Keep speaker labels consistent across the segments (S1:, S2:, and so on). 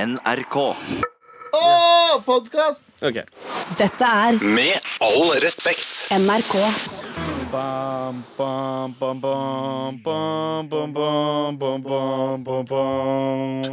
S1: NRK.
S2: Åh, podkast!
S3: Ok.
S4: Dette er
S5: Med all respekt.
S4: NRK.
S3: Bam, bam, bam, bam, bam, bam, bam, bam, bam, bam, bam.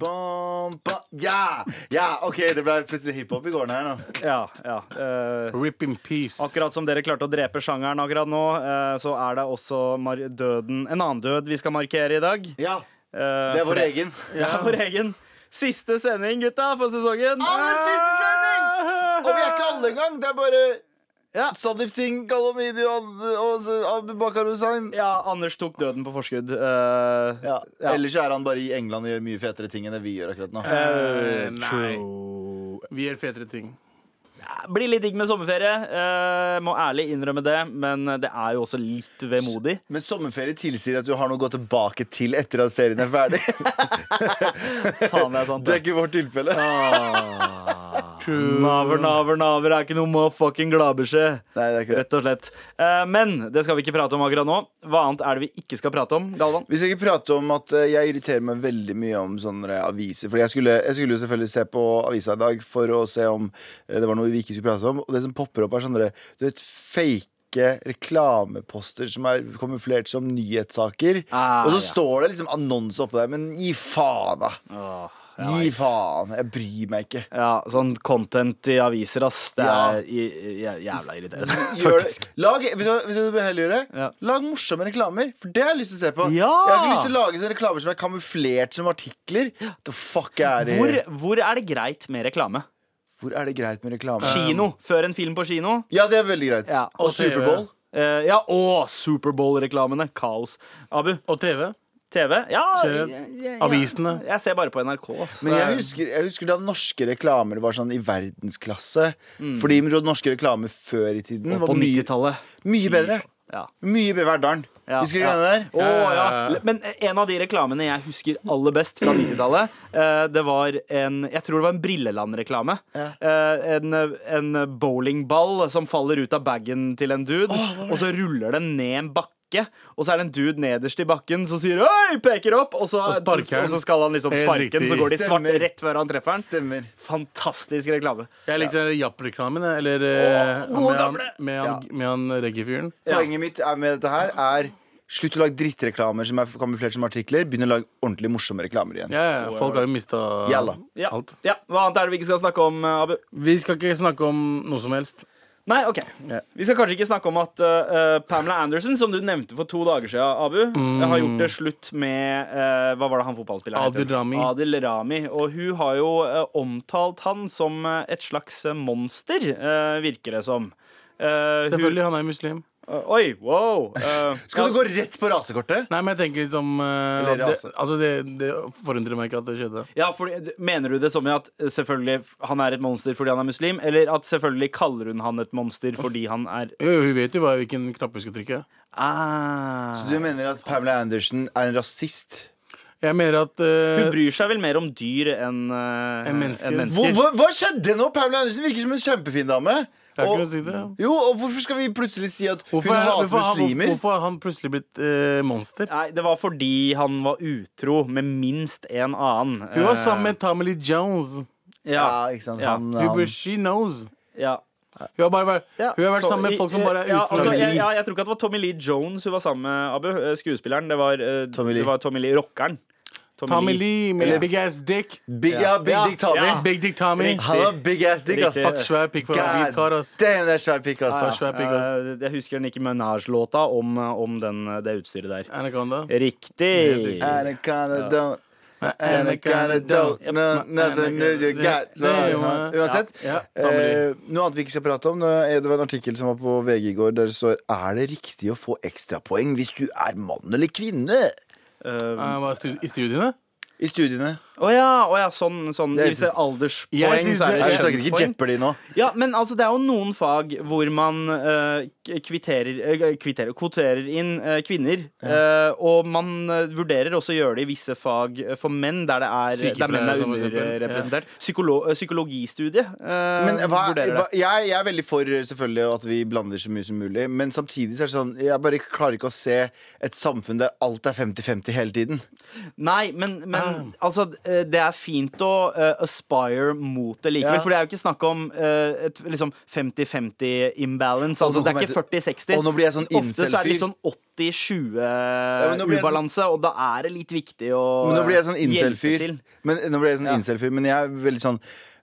S2: Bom, ba, ja! Ja, OK, det ble plutselig hiphop i gården her nå.
S3: Ja, ja. eh,
S6: Rip in peace.
S3: akkurat som dere klarte å drepe sjangeren akkurat nå, eh, så er det også mar døden En annen død vi skal markere i dag.
S2: Ja,
S3: Eh,
S2: det er vår
S3: Fre-
S2: egen.
S3: Det er vår egen. Siste sending, gutta, for sesongen. Ah!
S2: Aller siste sending! Og vi er ikke alle engang. Det er bare
S3: Ja.
S2: Sandeep Singh, Kalamidi og, og Abu Bakar Hussain.
S3: Ja, Anders tok døden på forskudd. eh,
S2: Ja.
S3: Ja.
S2: Ellers er han bare i England og gjør mye fetere ting enn det vi gjør akkurat nå.
S6: Eh, nei.
S3: True.
S6: Vi gjør fetere ting.
S3: Blir litt digg med sommerferie. eh, må ærlig innrømme det, men det er jo også litt vemodig.
S2: Men sommerferie tilsier at du har noe å gå tilbake til etter at ferien er ferdig.
S3: Faen, det er sant.
S2: Det er ikke vårt tilfelle.
S6: True.
S3: Naver, naver, naver er ikke noe motherfucking gladbeskjed.
S2: Nei, det er ikke det.
S3: Rett og slett. Eh, men det skal vi ikke prate om akkurat nå. Hva annet er det vi ikke skal prate om, Galvan?
S2: Vi skal ikke prate om at eh, jeg irriterer meg veldig mye om sånne aviser. Fordi jeg skulle, jeg skulle jo selvfølgelig se på avisa i dag for å se om eh, det var noe vi ikke skulle prate om. Og det som popper opp, er sånne du vet, fake reklameposter som er kamuflert som nyhetssaker.
S3: Ah,
S2: og så
S3: ja.
S2: står det liksom annonse oppå der, men gi faen, da! Gi faen! Jeg bryr meg ikke.
S3: Ja, sånn content i aviser, ass. Det
S2: Ja.
S3: er i- i- jævla irriterende.
S2: Gjør
S3: Faktisk.
S2: det. Lag, vet, du, hva- vet du hva du bør heller gjøre?
S3: Ja.
S2: Lag morsomme reklamer, for det har jeg lyst til å se på.
S3: Ja!
S2: Jeg har ikke lyst til å lage sånne reklamer som er kamuflert som artikler. The fuck er det?
S3: Hvor, hvor er det greit med reklame?
S2: Hvor er det greit med reklame?
S3: Kino. Før en film på kino.
S2: Um, Ja, det er veldig greit.
S3: Ja,
S2: og
S6: Eh, og TV.
S2: Superbowl.
S3: Eh, ja, og Superbowl-reklamene. Kaos. Abu,
S6: Og TV.
S3: TV? Ja,
S6: TV.
S3: ja, ja, ja.
S6: Avisene.
S3: Jeg ser bare på NRK, ass.
S2: Men jeg husker, jeg husker da norske reklamer var sånn i verdensklasse. Fordi norske reklamer før i tiden
S3: Og
S2: var
S3: på
S2: mye,
S3: 90-tallet.
S2: mye bedre.
S3: Ja.
S2: Mye bedre Verdalen.
S3: Ja,
S2: husker du
S3: ja.
S2: greiene der?
S3: Å, ja.
S6: ja, ja.
S3: Men en av de reklamene jeg husker aller best fra 90-tallet, eh, det var en Jeg tror det var en Brilleland-reklame. Eh, En, en bowlingball som faller ut av bagen til en dude, og så ruller den ned en bakke. Og så er det en dude nederst i bakken som sier 'øy', peker opp, og så,
S6: Og sparker han.
S3: og så skal han liksom
S6: Helt
S3: sparke den,
S6: riktig.
S3: så går de svart
S2: Stemmer.
S3: rett før han treffer den.
S2: Stemmer.
S3: Fantastisk reklame.
S6: Jeg likte den Japp-reklamen, jeg, eller eh,
S3: Åh, gode
S6: med, han,
S3: gamle!
S6: med han, med han reggae-fyren.
S2: Poenget mitt er med dette her er slutt å lage drittreklamer som er kamuflert som artikler. Begynn å lage ordentlig morsomme reklamer igjen.
S6: Ja, ja, folk har jo mista
S2: Jalla.
S3: Ja.
S6: alt.
S3: ja. Hva annet er det vi ikke skal snakke om, Abu?
S6: Vi skal ikke snakke om noe som helst.
S3: Nei, ok. Vi skal kanskje ikke snakke om at eh, Pamela Anderson, som du nevnte for to dager siden, Abu, eh,
S2: Mm.
S3: har gjort det slutt med eh, Hva var det han fotballspilleren
S6: Adil Rami.
S3: Adil Rami. Og hun har jo eh, omtalt han som eh, et slags eh, monster, eh, virker det som. Eh, hun-
S6: Selvfølgelig, han er muslim.
S3: Eh, oi, wow! eh,
S2: Skal du gå rett på rasekortet?
S6: Nei, men jeg tenker liksom eh,
S2: Eller
S6: det,
S2: rase.
S6: altså det, det forundrer meg ikke at det skjedde.
S3: ja, fordi- Mener du det som i at eh, selvfølgelig f- han er et monster fordi han er muslim, eller at selvfølgelig kaller hun han et monster fordi han er
S6: Jo, jo, hun vet jo hva, hvilken knapp hun skal trykke.
S3: ah.
S2: Så du mener at Pamela Andersen er en rasist?
S6: Jeg mener at eh,
S3: Hun bryr seg vel mer om dyr enn eh,
S6: Enn mennesker.
S3: enn
S2: Hva, hva, hva skjedde nå? Pamela Andersen virker som en kjempefin dame.
S6: jeg har ikke
S2: Og-
S6: noe å si til det.
S2: Jo, og hvorfor skal vi plutselig si at hun
S6: Hvorfor, er-
S2: hater
S6: hvorfor, har-
S2: muslimer?
S6: hvorfor har han plutselig blitt eh, monster?
S3: Nei, det var fordi han var utro med minst en annen.
S6: Hun var
S3: Eh,
S6: sammen med Tamily Jones.
S3: Ja.
S2: Ja, ikke sant?
S3: Ja.
S2: Han,
S6: Hun
S2: han,
S6: bør- She knows.
S3: ja,
S6: Hun har, bare vært,
S3: ja.
S6: hun har vært
S3: To-
S6: sammen med folk som bare er
S3: ja,
S6: utro.
S3: altså, jeg,
S2: Lee.
S3: ja, jeg tror ikke at det var Tommy Lee Jones hun var sammen med, Abu. eh, Skuespilleren. Det var eh,
S2: Tommy Lee.
S3: det var Tommy Lee rockeren.
S6: Tommy Lee med
S2: Eller-
S6: big ass dick.
S2: big, ja, big
S3: Ja.
S2: dick Tommy.
S3: Ja.
S6: Big dick Tommy.
S3: Riktig.
S2: Han har big ass dick, ass.
S3: Riktig.
S6: Fuck svær pikk for en
S2: God
S6: hvit kar, ass.
S2: damn, det er svær pikk, altså.
S6: Fuck
S2: ass.
S6: svær pikk, ass.
S3: Eh, jeg husker Nicki Minaj-låta om, eh, om den, det utstyret der.
S6: Anaconda.
S3: Riktig. Eh,
S2: Anaconda don't Anaconda
S6: Anaconda
S2: don't
S6: don't.
S2: know nothing new you got. Uansett.
S6: Ja, eh, ja, Tommy Lee.
S2: Eh, noe annet vi ikke skal prate om, eh, det var en artikkel som var på VG i går, der det står Er det riktig å få ekstrapoeng hvis du er mann eller kvinne?
S3: Eh,
S6: Han var stud- I studiene?
S2: I studiene.
S3: Å ja, å ja, sånn, sånn
S2: Jeg
S3: Hvis det er
S6: Jeg
S3: alderspoeng,
S6: synes
S3: så er
S6: det-
S2: Nei,
S3: det
S2: Vi snakker ikke
S3: kjønnspoeng.
S2: Jeopardy nå.
S3: Ja, men altså, det er jo noen fag hvor man eh, k- kvitterer, eh, kvitterer kvoterer inn eh, kvinner. eh, og man eh, vurderer også å gjøre det i visse fag eh, for menn, der, det er, der menn
S6: Sykepleiere,
S3: er
S6: som for eksempel.
S3: underrepresentert. Psykolo eh, psykologistudiet eh,
S2: Men hva,
S3: vurderer
S2: hva,
S3: det.
S2: jeg, jeg er veldig for selvfølgelig at vi blander så mye som mulig. Men samtidig så er det sånn Jeg bare klarer ikke å se et samfunn der alt er 50-50 hele tiden. Ah.
S3: Nei, men, men altså, eh, det er fint å eh, aspire mot det likevel.
S2: Ja.
S3: For det er jo ikke snakk om eh, et liksom 50-50 imbalance.
S2: Og nå
S3: Altså, det er ikke
S2: kommer jeg
S3: 40-60.
S2: til- Og nå blir jeg sånn
S3: Ofte så er det
S2: incel-fyr.
S3: litt sånn 80-20
S2: men nå blir jeg sånn-
S3: ubalanse, og da er det litt viktig å
S2: Men nå blir jeg sånn
S3: hjelpe
S2: incel-fyr.
S3: til.
S2: Men, nå blir jeg sånn
S3: Ja.
S2: incel-fyr, men jeg er veldig sånn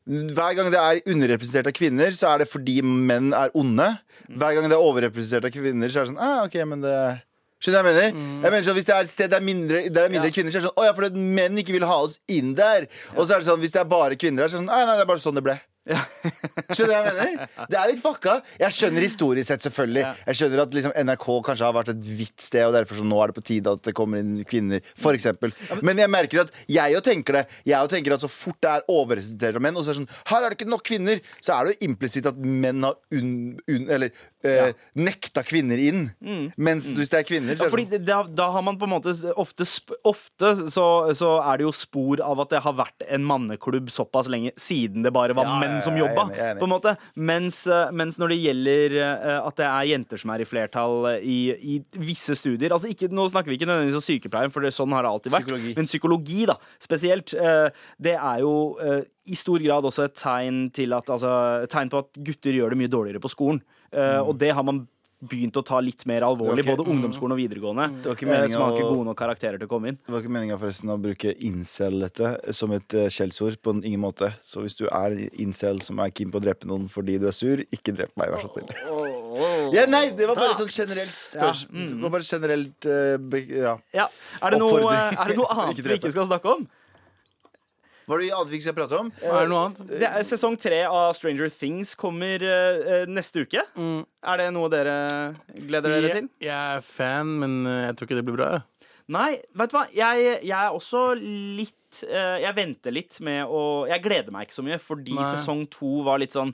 S2: hver gang det er underrepresentert av kvinner, så er det fordi menn er onde. Hver gang det er overrepresentert av kvinner, så er det sånn ah, ok, men det Skjønner du hva jeg mener? Jeg mener sånn, Hvis det er et sted der, mindre, der det er mindre
S3: Mm. Ja.
S2: kvinner, så er det sånn Å ja, fordi menn ikke vil ha oss inn der. Og så er det sånn, hvis det er bare kvinner her, så er det sånn Nei, nei, det er bare sånn det ble. Skjønner du hva jeg mener? Det er litt fucka. Jeg skjønner historisk sett, selvfølgelig. Jeg skjønner at liksom, NRK kanskje har vært et hvitt sted, og derfor så nå er det på tide at det kommer inn kvinner, for eksempel. Men jeg merker at jeg jo tenker det. Jeg jo tenker at så fort det er overrepresentert av menn, og så er det sånn Her er det ikke nok kvinner! Så er det jo implisitt at menn har unn... unn- eller eh, nekta kvinner inn. Mens hvis det er kvinner, så
S3: Mm. Ja,
S2: er det
S3: fordi
S2: sånn
S3: det- da, da har man på en måte s- Ofte, sp- ofte så, så er det jo spor av at det har vært en manneklubb såpass lenge siden det bare var
S2: Ja, ja,
S3: menn som
S2: ja, jeg er
S3: jobba.
S2: enig, jeg er enig.
S3: På en måte. Mens, eh, mens når det gjelder eh, at det er jenter som er i flertall eh, i, i visse studier altså ikke, Nå snakker vi ikke nødvendigvis om sykepleieren, for det, sånn har det alltid vært.
S2: Psykologi.
S3: Men psykologi, da, spesielt, eh, det er jo eh, i stor grad også et tegn, til at, altså, et tegn på at gutter gjør det mye dårligere på skolen. Eh, Og det har man begynt å ta litt mer alvorlig,
S2: Mm. Det var ikke- mm.
S3: både ungdomsskolen og videregående.
S2: Det var ikke
S3: Eh,
S2: meningen
S3: Som har ikke
S2: å-
S3: gode nok karakterer til å komme inn.
S2: det var ikke meninga forresten å bruke incel-dette som et eh, skjellsord på en- ingen måte. Så hvis du er incel som er keen på å drepe noen fordi du er sur, ikke drep meg, vær så snill. Ja, nei, det var bare sånn generelt spørs...
S3: Mm.
S2: Det var bare generelt eh, be- ja.
S3: Ja. Er, det noe, eh,
S2: Oppfordring.
S3: er det noe annet
S2: Ikke
S3: vi
S2: drepe.
S3: ikke skal snakke om?
S2: Var det annet vi ikke skal prate om?
S6: Er det noe annet?
S3: Det er, sesong tre av Stranger Things kommer eh, eh, neste uke.
S2: Mm.
S3: Er det noe dere gleder dere
S6: Jeg,
S3: til?
S6: jeg er fan, men eh, jeg tror ikke det blir bra. jeg.
S3: Nei, vet du hva? Jeg, jeg er også litt eh, Jeg venter litt med å Jeg gleder meg ikke så mye, fordi
S6: Nei.
S3: sesong to var litt sånn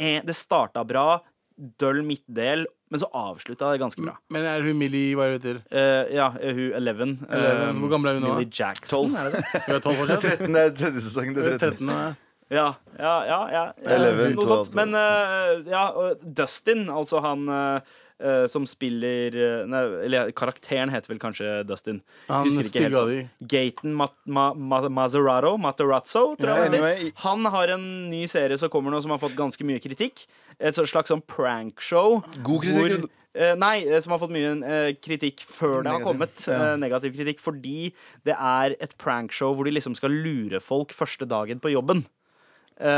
S3: eh, Det starta bra, døll midtdel, men så avslutta det ganske bra.
S6: Men er hun Millie hva hun heter?
S3: Eh, ja, hun Eleven.
S6: Eleven. Hvor gammel er hun nå, da?
S3: Millie
S2: sånn
S3: Jackson. er det det?
S6: Hun er tolv fortsatt?
S2: Det er tredje sesongen. Det er 13.
S6: 13 nå, ja.
S3: Ja, ja, ja. ja, ja.
S2: 11, 12,
S3: Noe sånt. Men eh, ja, og Dustin, altså han eh, eh, som spiller eh, Nei, eller karakteren heter vel kanskje Dustin.
S6: Han
S3: Husker ikke
S6: stygge av de.
S3: helt. Gaten Ma Ma Ma Maserado, Materazzo, tror jeg. han heter.
S2: Anyway.
S3: Han har en ny serie som kommer nå, som har fått ganske mye kritikk. Et sånt slags sånn prankshow.
S2: God kritikk,
S3: hvor-
S2: eller-
S3: Eh, nei, eh, som har fått mye eh, kritikk før det har kommet. eh, negativ kritikk. Fordi det er et prankshow hvor de liksom skal lure folk første dagen på jobben. Eh,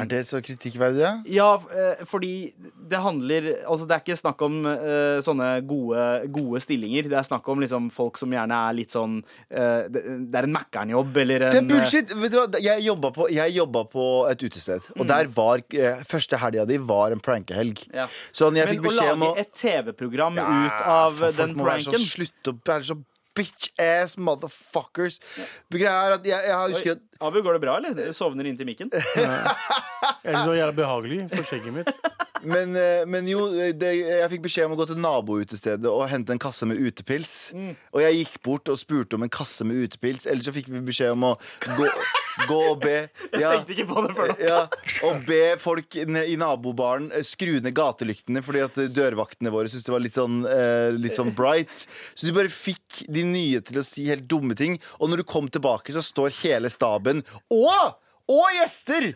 S2: Er det så kritikkverdig? ja?
S3: ja, f- eh, fordi det handler Altså, det er ikke snakk om eh, sånne gode, gode stillinger. Det er snakk om liksom folk som gjerne er litt sånn eh, det, det er en Mækkern-jobb eller en eh,
S2: Det er bullshit! Vet du hva? Jeg jobba på, jeg jobba på et utested,
S3: Mm.
S2: og der var eh, første helga di var en prankehelg.
S3: Ja.
S2: Sånn, jeg
S3: Men
S2: fikk
S3: å
S2: beskjed om
S3: lage
S2: å
S3: et TV-program
S2: Ja,
S3: ut av
S2: faen,
S3: den
S2: Folk må være
S3: pranken
S2: sånn slutt å være så bitch-ass motherfuckers. Greia er at jeg, jeg husker at
S3: Abu, går det bra, eller? Du sovner inntil mikken?
S6: Jeg synes det var jævla behagelig for skjegget mitt.
S2: Men, eh, men jo, det, jeg fikk beskjed om å gå til naboutestedet og hente en kasse med utepils.
S3: Mm.
S2: Og jeg gikk bort og spurte om en kasse med utepils, eller så fikk vi beskjed om å gå, gå og be ja,
S3: Tenkte ikke på det før nå.
S2: ja, Og be folk ne- i nabobaren eh, skru ned gatelyktene fordi at dørvaktene våre syntes det var litt sånn, eh, litt sånn bright. Så du bare fikk de nye til å si helt dumme ting, og når du kom tilbake, så står hele staben og, og gjester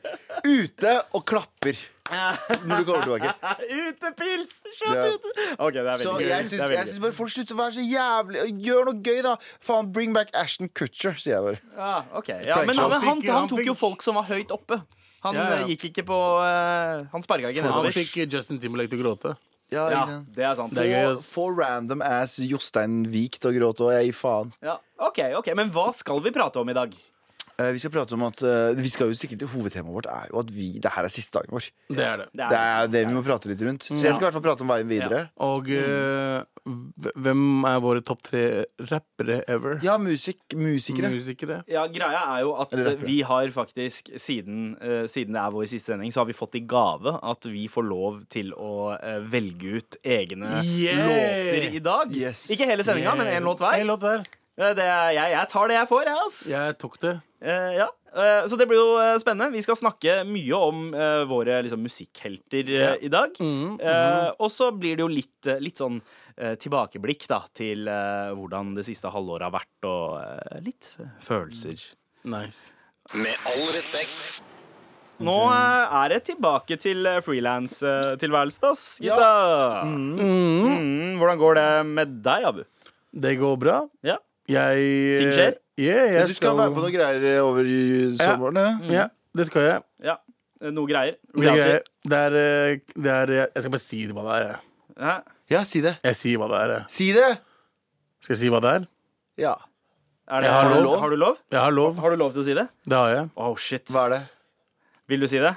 S2: ute og klapper. Når du kommer tilbake.
S3: Utepils!
S2: Ja.
S3: Skjøt ut! OK, det er veldig
S2: Så
S3: gøy.
S2: jeg
S3: Det er
S2: syns,
S3: veldig
S2: jeg
S3: gøy.
S2: syns bare folk slutter å være så jævlig Gjør noe gøy, da! Faen, bring back Ashton Kutcher, sier jeg bare.
S3: Ja, Ah, ok. ja, men,
S2: Prankshow.
S3: men han, han tok
S6: Fikk-
S3: jo folk som var høyt oppe. Han
S6: Ja, ja.
S3: eh, gikk ikke på eh, Han sparka ikke
S6: Han
S3: nedover.
S6: fikk Justin Timberlake til å gråte.
S3: Ja, det er sant.
S6: Det er gøy,
S2: Få,
S6: ass.
S2: få random ass Jostein Vik til å gråte, og jeg gir faen.
S3: Ja. OK, ok, men hva skal vi prate om i dag?
S2: Eh, vi skal prate om at eh, Vi skal jo sikkert Hovedtemaet vårt er jo at vi, det her er siste dagen vår.
S6: Det er det.
S3: Det
S2: Det er det vi må prate litt rundt. Så jeg skal i hvert fall prate om veien videre.
S6: Og eh, hv- hvem er våre topp tre rappere ever?
S2: Ja, musik, musikere.
S6: Musikere.
S3: Ja, greia er jo at eh,
S2: Eller rappere.
S3: vi har faktisk, siden, eh, siden det er vår siste sending, så har vi fått i gave at vi får lov til å eh, velge ut egne
S6: Yeah!
S3: låter i dag.
S2: Yes.
S3: Ikke hele sendinga, men én låt hver.
S6: En låt hver.
S3: Eh, Det er, jeg, jeg tar det jeg får, jeg, ass.
S6: Jeg tok det.
S3: Eh, ja. Eh, Så det blir jo eh, spennende. Vi skal snakke mye om eh, våre liksom, musikkhelter eh, i dag. Eh, og så blir det jo litt, eh, litt sånn eh, tilbakeblikk da, til eh, hvordan det siste halvåret har vært, og eh, litt følelser.
S6: Nice.
S5: Med all respekt.
S3: Nå eh, er det tilbake til frilanstilværelsen, ass,
S2: Ja.
S3: gutta. Mm, hvordan går det med deg, Abu?
S6: Det går bra.
S3: Ja.
S6: Jeg
S3: Ting skjer?
S6: Yeah, jeg
S2: Du skal være på noen greier eh, over sommeren? Ja.
S6: Ja, det skal jeg.
S3: ja. Eh, Noe greier.
S6: Det, greier, det, er, eh, det er Jeg skal bare si hva det er. jeg.
S3: Hæ?
S2: ja, si det.
S6: Jeg sier hva det er. jeg.
S2: Si det!
S6: Skal jeg si hva det er?
S2: Ja.
S3: Er det,
S6: Jeg har
S3: har, du
S2: lov.
S3: lov? har du lov?
S6: Jeg har lov.
S3: Har du lov til å si det?
S6: Det har jeg.
S3: Oh, shit.
S2: Hva er det?
S3: Vil du si det?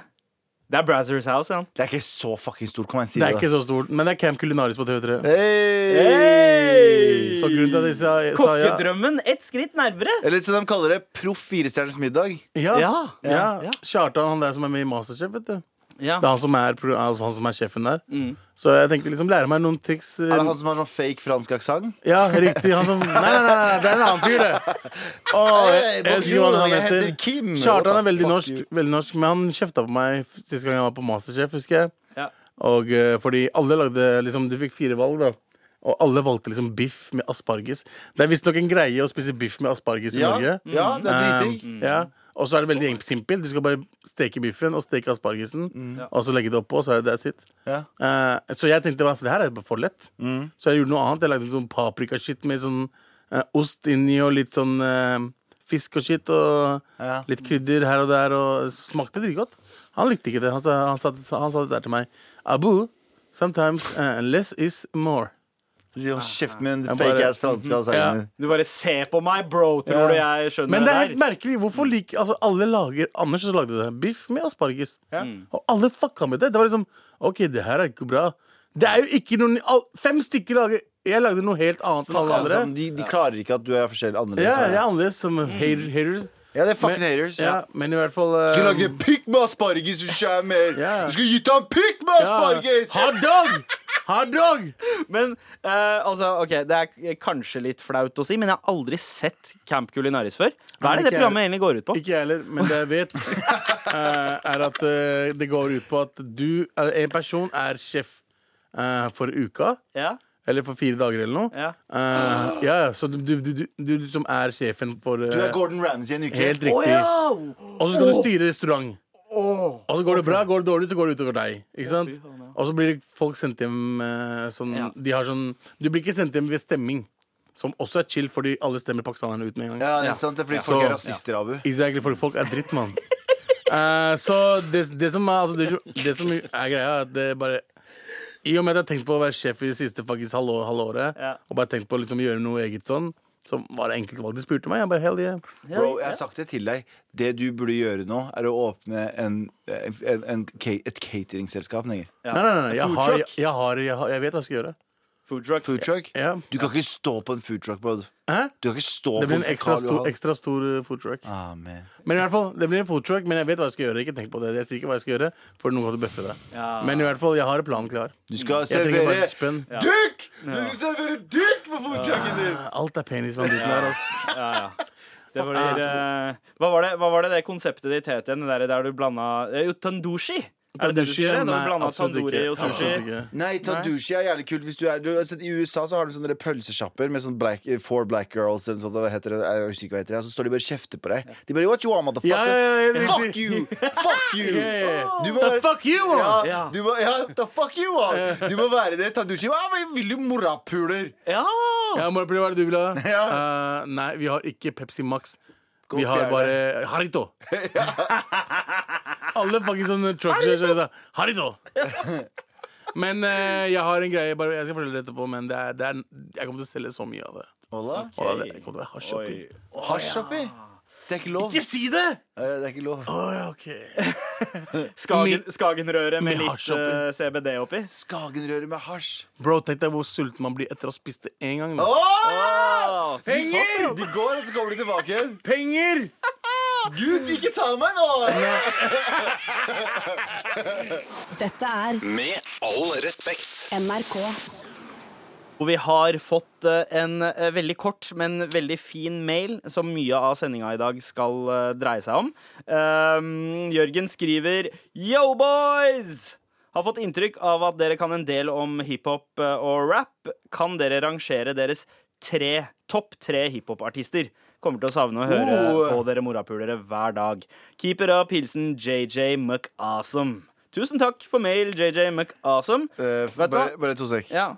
S3: Det er Brazzers House, ja.
S2: Det er ikke så fucking stort. Kom igjen, si
S6: Det
S2: det.
S6: er ikke så stort, men det er Camp Culinaris på TV3.
S2: Hey!
S6: Så grunnen til at jeg sa, sa ja
S3: Kokkedrømmen ett skritt nærmere.
S2: Eller som de kaller det, Proff firestjerners middag.
S6: Ja.
S3: Ja,
S6: ja.
S3: ja.
S6: Kjartan, han der som er med i Masterchef, vet du.
S3: Ja.
S6: Det er han som er, pro- altså han som er sjefen der. Så jeg tenkte liksom lære meg noen triks. eh,
S2: Mm. Er det han som har sånn fake fransk aksent?
S6: Ja, riktig. Han som Nei, nei, nei, nei det er en annen fyr, det. Åh, jeg, jeg husker hva han
S2: Jeg
S6: heter.
S2: heter Kim.
S6: Kjartan
S2: What
S6: er
S2: the
S6: veldig
S2: fuck
S6: norsk,
S2: you?
S6: veldig norsk, men han kjefta på meg f- sist gang jeg var på Masterchef, husker jeg.
S3: Ja.
S6: Og eh, fordi alle lagde liksom Du fikk fire valg, da. Og alle valgte liksom biff med asparges. Det er visstnok en greie å spise biff med asparges i
S2: Ja, Mm.
S6: Norge.
S2: ja, det er
S6: Eh,
S2: driting.
S6: ja. Og så er det veldig enk- simpelt. Du skal bare steke biffen og steke aspargesen.
S2: Mm.
S3: Ja.
S6: Og så legge det oppå, så er det that's it.
S2: Ja.
S6: Eh, så jeg tenkte "Hva, det her er bare for lett. Så jeg gjorde noe annet. Jeg lagde sånn paprikashit med sånn eh, ost inni og litt sånn eh, fisk og shit. Og
S2: Ja.
S6: litt krydder her og der. Og smakte dritgodt. Han likte ikke det. Han sa, han sa, han sa det der til meg. Abu, sometimes eh, less is more.
S2: Si, hold Kjeften min,
S6: Jeg bare- Mm.
S2: fake ass franske
S6: Ja.
S2: aksent.
S3: Du bare se på meg, bro, tror du jeg skjønner
S6: Men det er helt
S3: der?
S6: merkelig. Hvorfor liker altså, alle lager Anders så lagde det biff med asparges.
S2: Ja.
S6: Og alle fucka med det. Det var liksom OK, det her er ikke bra. Det er jo ikke noen al- Fem stykker lager Jeg lagde noe helt annet enn
S2: Fuck
S6: alle
S2: alle
S6: andre.
S2: sammen. De, de klarer ikke at du er forskjellig annerledes.
S6: Ja, jeg er annerledes som hater, haters.
S2: Mm. Ja, det er fucking
S6: Men-
S2: haters.
S6: Ja, men i hvert fall
S2: Du
S6: eh,
S2: skulle lage pikk med asparges, du skjæmer!
S6: Ja.
S2: Du skulle gitt ham pikk med
S6: ja,
S2: asparges!
S6: Hot dog! Hot dog!
S3: Men eh, altså, ok, det er kanskje litt flaut å si, men jeg har aldri sett Camp Culinaris før. Hva er det
S6: Nei, ikke
S3: det programmet egentlig går ut på?
S6: Ikke jeg heller, men det jeg vet, eh, er at eh, det går ut på at du er, En person er sjef eh, for uka,
S3: Ja,
S6: eller for fire dager eller noe.
S3: ja.
S6: Eh, ja, ja, så du, du, du, du liksom er sjefen for eh,
S2: Du er Gordon Ramsay en uke.
S6: Helt riktig. Og så skal du styre restaurant. Og så går det bra, går det dårlig, så går det utover deg. Ikke sant?
S3: faen, ja.
S6: Og så blir folk sendt hjem eh, sånn,
S3: Ja.
S6: de har sånn Du blir ikke sendt hjem ved stemming, som også er chill, fordi alle stemmer pakistanerne ut med en gang.
S2: Ja, det er sant, det er fordi folk er
S6: Så-
S2: rasister, Abu.
S6: Exactly, for folk er dritt, mann. Eh, så det, det, som er, altså, det, som- det som er greia, er at det bare I og med at jeg har tenkt på å være sjef i det siste faktisk halvå, halvåret,
S3: Ja.
S6: og bare tenkt på å liksom, gjøre noe eget sånn, så var det enkelte valg de spurte meg. Jeg bare, hell yeah.
S2: Bro, jeg har sagt det til deg. Det du burde gjøre nå, er å åpne en, en, en, ca- et cateringselskap. Neger.
S3: ja.
S6: Nei, nei, nei, nei. Jeg,
S3: Food
S6: har, jeg,
S3: truck.
S6: jeg, har, jeg, har, jeg vet hva jeg skal gjøre.
S3: Food truck.
S2: Food truck?
S6: Ja.
S2: Du kan ikke stå på en food truck, bro.
S6: Hæ?
S2: Du kan ikke stå på
S6: Det blir en ekstra
S2: Karl
S6: stor,
S2: Johan.
S6: ekstra stor eh, food truck.
S2: Ah, man.
S6: Men i hvert fall, det blir en food truck, men jeg vet hva jeg skal gjøre. Ikke tenk på det. Jeg sier ikke hva jeg skal gjøre, for noen kan bøffe deg.
S3: Ja.
S6: Men i hvert fall, jeg har planen klar.
S2: Du skal
S6: Jeg trenger
S2: servere
S6: bare spenn.
S2: dukk! Du skal servere dukk på food trucken din!
S6: Alt er penis med den biten her, ass.
S3: Ja, ja. Det var
S6: Ah,
S3: det, eh, hva, var det, hva var det det konseptet ditt het igjen? det Der, der du blanda eh, Jo, tandushi! Er det det du
S6: Tandushi,
S3: skulle? Da
S6: nei,
S3: du blanda
S6: absolutt
S3: tandori
S6: ikke.
S3: og sushi?
S6: Absolutt ikke.
S2: Nei, tandushi er jævlig kult hvis du er du, altså, I USA så har de sånne pølsesjapper med sånn black, eh, four black girls eller sånt, hva heter det, jeg husker ikke hva heter det, og så står de bare og kjefter på deg. De bare What you want, motherfucker?
S6: Ja, ja, ja,
S2: Fuck you! Fuck you!
S6: Yeah.
S2: Du må
S6: The
S2: være-
S6: fuck you, man!
S2: Ja, du må, ja, the fuck you want? Du må være det. Tandushi Hva men vil du morapuler?
S3: Ja!
S6: Ja, Morapulli, hva er det du vil ha?
S2: Ja.
S6: Eh, nei, vi har ikke Pepsi Max. Vi
S2: Godt gjerne.
S6: har bare Harito. Alle fucking sånne truckers er sånn Harito! Men eh, jeg har en greie, bare, jeg skal fortelle det etterpå, men det er, det er, jeg kommer til å selge så mye av det.
S2: Hola?
S6: Og det jeg kommer til å være hasj oppi.
S3: Oi.
S2: Hasj oppi? Det er ikke lov.
S6: Ikke si det!
S2: Eh, Det er ikke lov.
S6: Å ja, ok.
S3: Skagen, Skagenrøre med
S6: Med
S3: litt
S6: hasj oppi.
S3: eh, CBD oppi.
S2: Skagenrøre med hasj.
S6: Bro, tenk deg hvor sulten man blir etter å ha spist det én gang. da.
S2: Åh!
S6: Penger!
S2: De går, og så kommer de tilbake igjen.
S6: Penger!
S2: Gud, ikke ta meg nå! Eh,
S1: Dette er
S5: Med all respekt.
S1: NRK.
S3: Og vi har fått eh, en eh, veldig kort, men veldig fin mail, som mye av sendinga i dag skal eh, dreie seg om. Ehm, Jørgen skriver Yo, boys! Har fått inntrykk av at dere kan en del om hiphop eh, og rap. Kan dere rangere deres tre, topp tre hiphopartister? Kommer til å savne å høre
S2: Oh.
S3: på dere morapulere hver dag. Keeper up, hilsen JJ McAwesome. Tusen takk for mail, JJ McAwesome.
S2: Eh,
S3: Vet du
S2: bare,
S3: hva?
S2: bare to sek.
S3: Ja.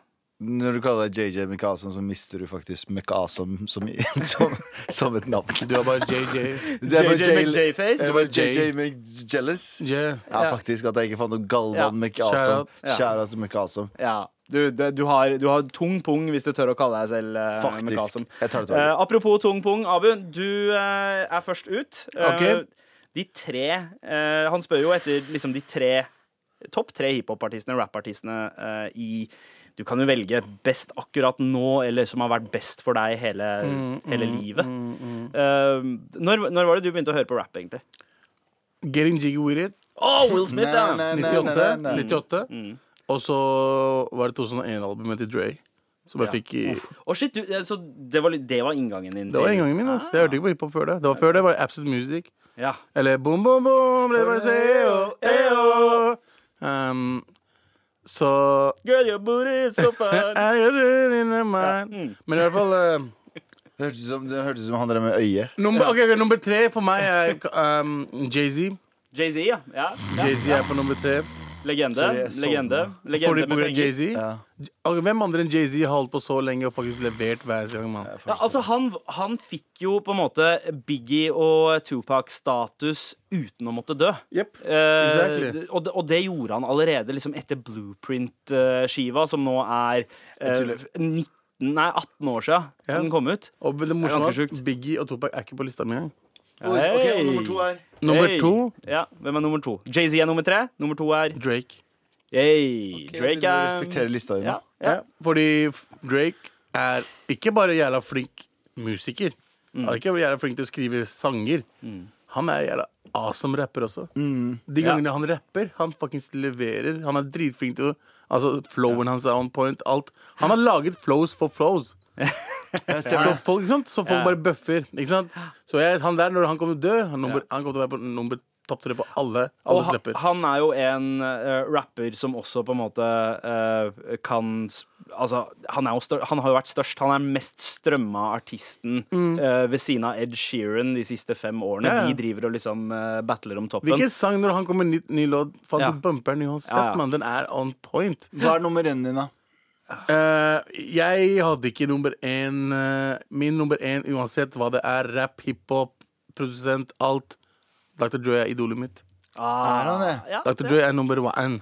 S2: Når du kaller deg JJ McAsom, så mister du faktisk McAsom som, som, som et navn.
S6: Du er bare JJ.
S2: Det er bare
S3: JJ
S2: jail-
S3: McJayface.
S2: Det er bare JJ McJealous.
S6: Yeah.
S2: Ja, faktisk. At jeg ikke fant noe Galvan
S6: Shout
S2: McAsom.
S6: out.
S3: Ja.
S2: Kjære til McAsom.
S3: Ja. Du, det, du, har, du har tung pung, hvis du tør å kalle deg selv eh,
S2: Faktisk.
S3: Mikaelsen.
S2: Jeg tar det tilbake.
S3: Eh, apropos tung pung, Abu, du eh, er først ut. Eh,
S6: Ok.
S3: De tre eh, Han spør jo etter liksom, de tre topp tre hiphopartistene, rappartistene eh, i Du kan jo velge best akkurat nå, eller som har vært best for deg hele,
S6: Mm,
S3: hele livet. Eh, når, når var det du begynte å høre på rap, egentlig?
S6: Getting jiggy with it.
S3: Å, Will Smith, ja!
S2: Nei, nei, nei, nei,
S6: 98.
S2: nei.
S6: 98. Og så var det 2001-albumet til Dre. Som jeg fikk i Det
S3: Å, shit, du, eh, så det var, li- det var inngangen din?
S6: var
S3: til-
S6: inngangen min. Altså. Jeg hørte ikke på hiphop før det. Det var Før det var det Absolute Music.
S3: Ja.
S6: Eller boom, boom, boom. Det var det eyo, eyo. Um, så
S3: Girl, your booty is so fun.
S6: I got it in my mind. Men i hvert fall eh,
S2: Det hørtes ut som, det hørtes ut som han der med øyet.
S6: nummer, ok, ok, nummer tre for meg er um, Jay-Z.
S3: Jay-Z, ja. ja.
S6: Jay-Z er på nummer tre.
S3: Legende.
S2: Sorry, jeg sovna.
S3: legende.
S6: Fordi
S3: Legende
S6: på
S3: med
S6: grunn av
S3: penger.
S6: Jay-Z.
S2: Ja.
S6: Ok, Hvem andre enn Jay-Z har holdt på så lenge og faktisk levert hver gang, mann?
S3: Ja, altså han, han fikk jo på en måte Biggie og Tupac-status uten å måtte dø.
S6: Yep.
S3: Eh,
S6: Exactly.
S3: og, det, og det gjorde han allerede liksom etter Blueprint-skiva, som nå er eh, 19, nei, 18 år siden
S6: Ja.
S3: den kom ut.
S6: Og det morsomme
S3: ganske
S6: er at
S3: sjukt.
S6: Biggie og Topak er ikke på lista mi engang.
S2: Oi, ok, og nummer to
S3: Hey.
S2: er
S6: Nummer
S3: Hey.
S6: to
S3: Ja, Hvem er nummer to? Jay-Z er nummer tre. Nummer to er
S6: Drake.
S3: hey,
S2: Jeg
S3: Drake.
S2: begynner å
S3: Er,
S2: respektere lista di nå.
S3: ja, ja.
S6: Fordi f- Drake er ikke bare jævla flink musiker. Han er ikke bare jævla flink til å skrive sanger. Han er jævla awesome rapper også.
S3: Mm.
S6: De gangene han rapper, han faktisk leverer. Han er dritflink til å Altså, flowen hans er on point. Alt. Han har laget flows for flows. Så folk, ikke sant? Så folk
S3: Ja.
S6: bare bøffer. Ikke sant? Så jeg, han der, når han kommer til å dø, han, nummer, han kommer til å være på nummer topp tre på alle,
S3: Og
S6: alle
S3: han,
S6: slipper.
S3: han er jo en eh, rapper som også på en måte eh, kan s- Altså, han, er jo stør, han har jo vært størst. Han er den mest strømma artisten eh, ved siden av Ed Sheeran de siste fem årene.
S6: Mm. Ja, ja.
S3: De driver og liksom eh, battler om toppen.
S6: Hvilken sang når han kommer med nytt- ny låt? Faen,
S3: Ja.
S6: du bumper den uansett,
S3: Ja, ja.
S6: mann. Den er on point.
S2: Hva er nummer én din, da?
S6: Eh, jeg hadde ikke nummer én. eh, min nummer én, uansett hva det er, rap, hiphop, produsent, alt. Dr. Joy er idolet mitt.
S2: Er han det?
S3: Ja,
S6: Dr.
S3: det-
S6: Joy er number one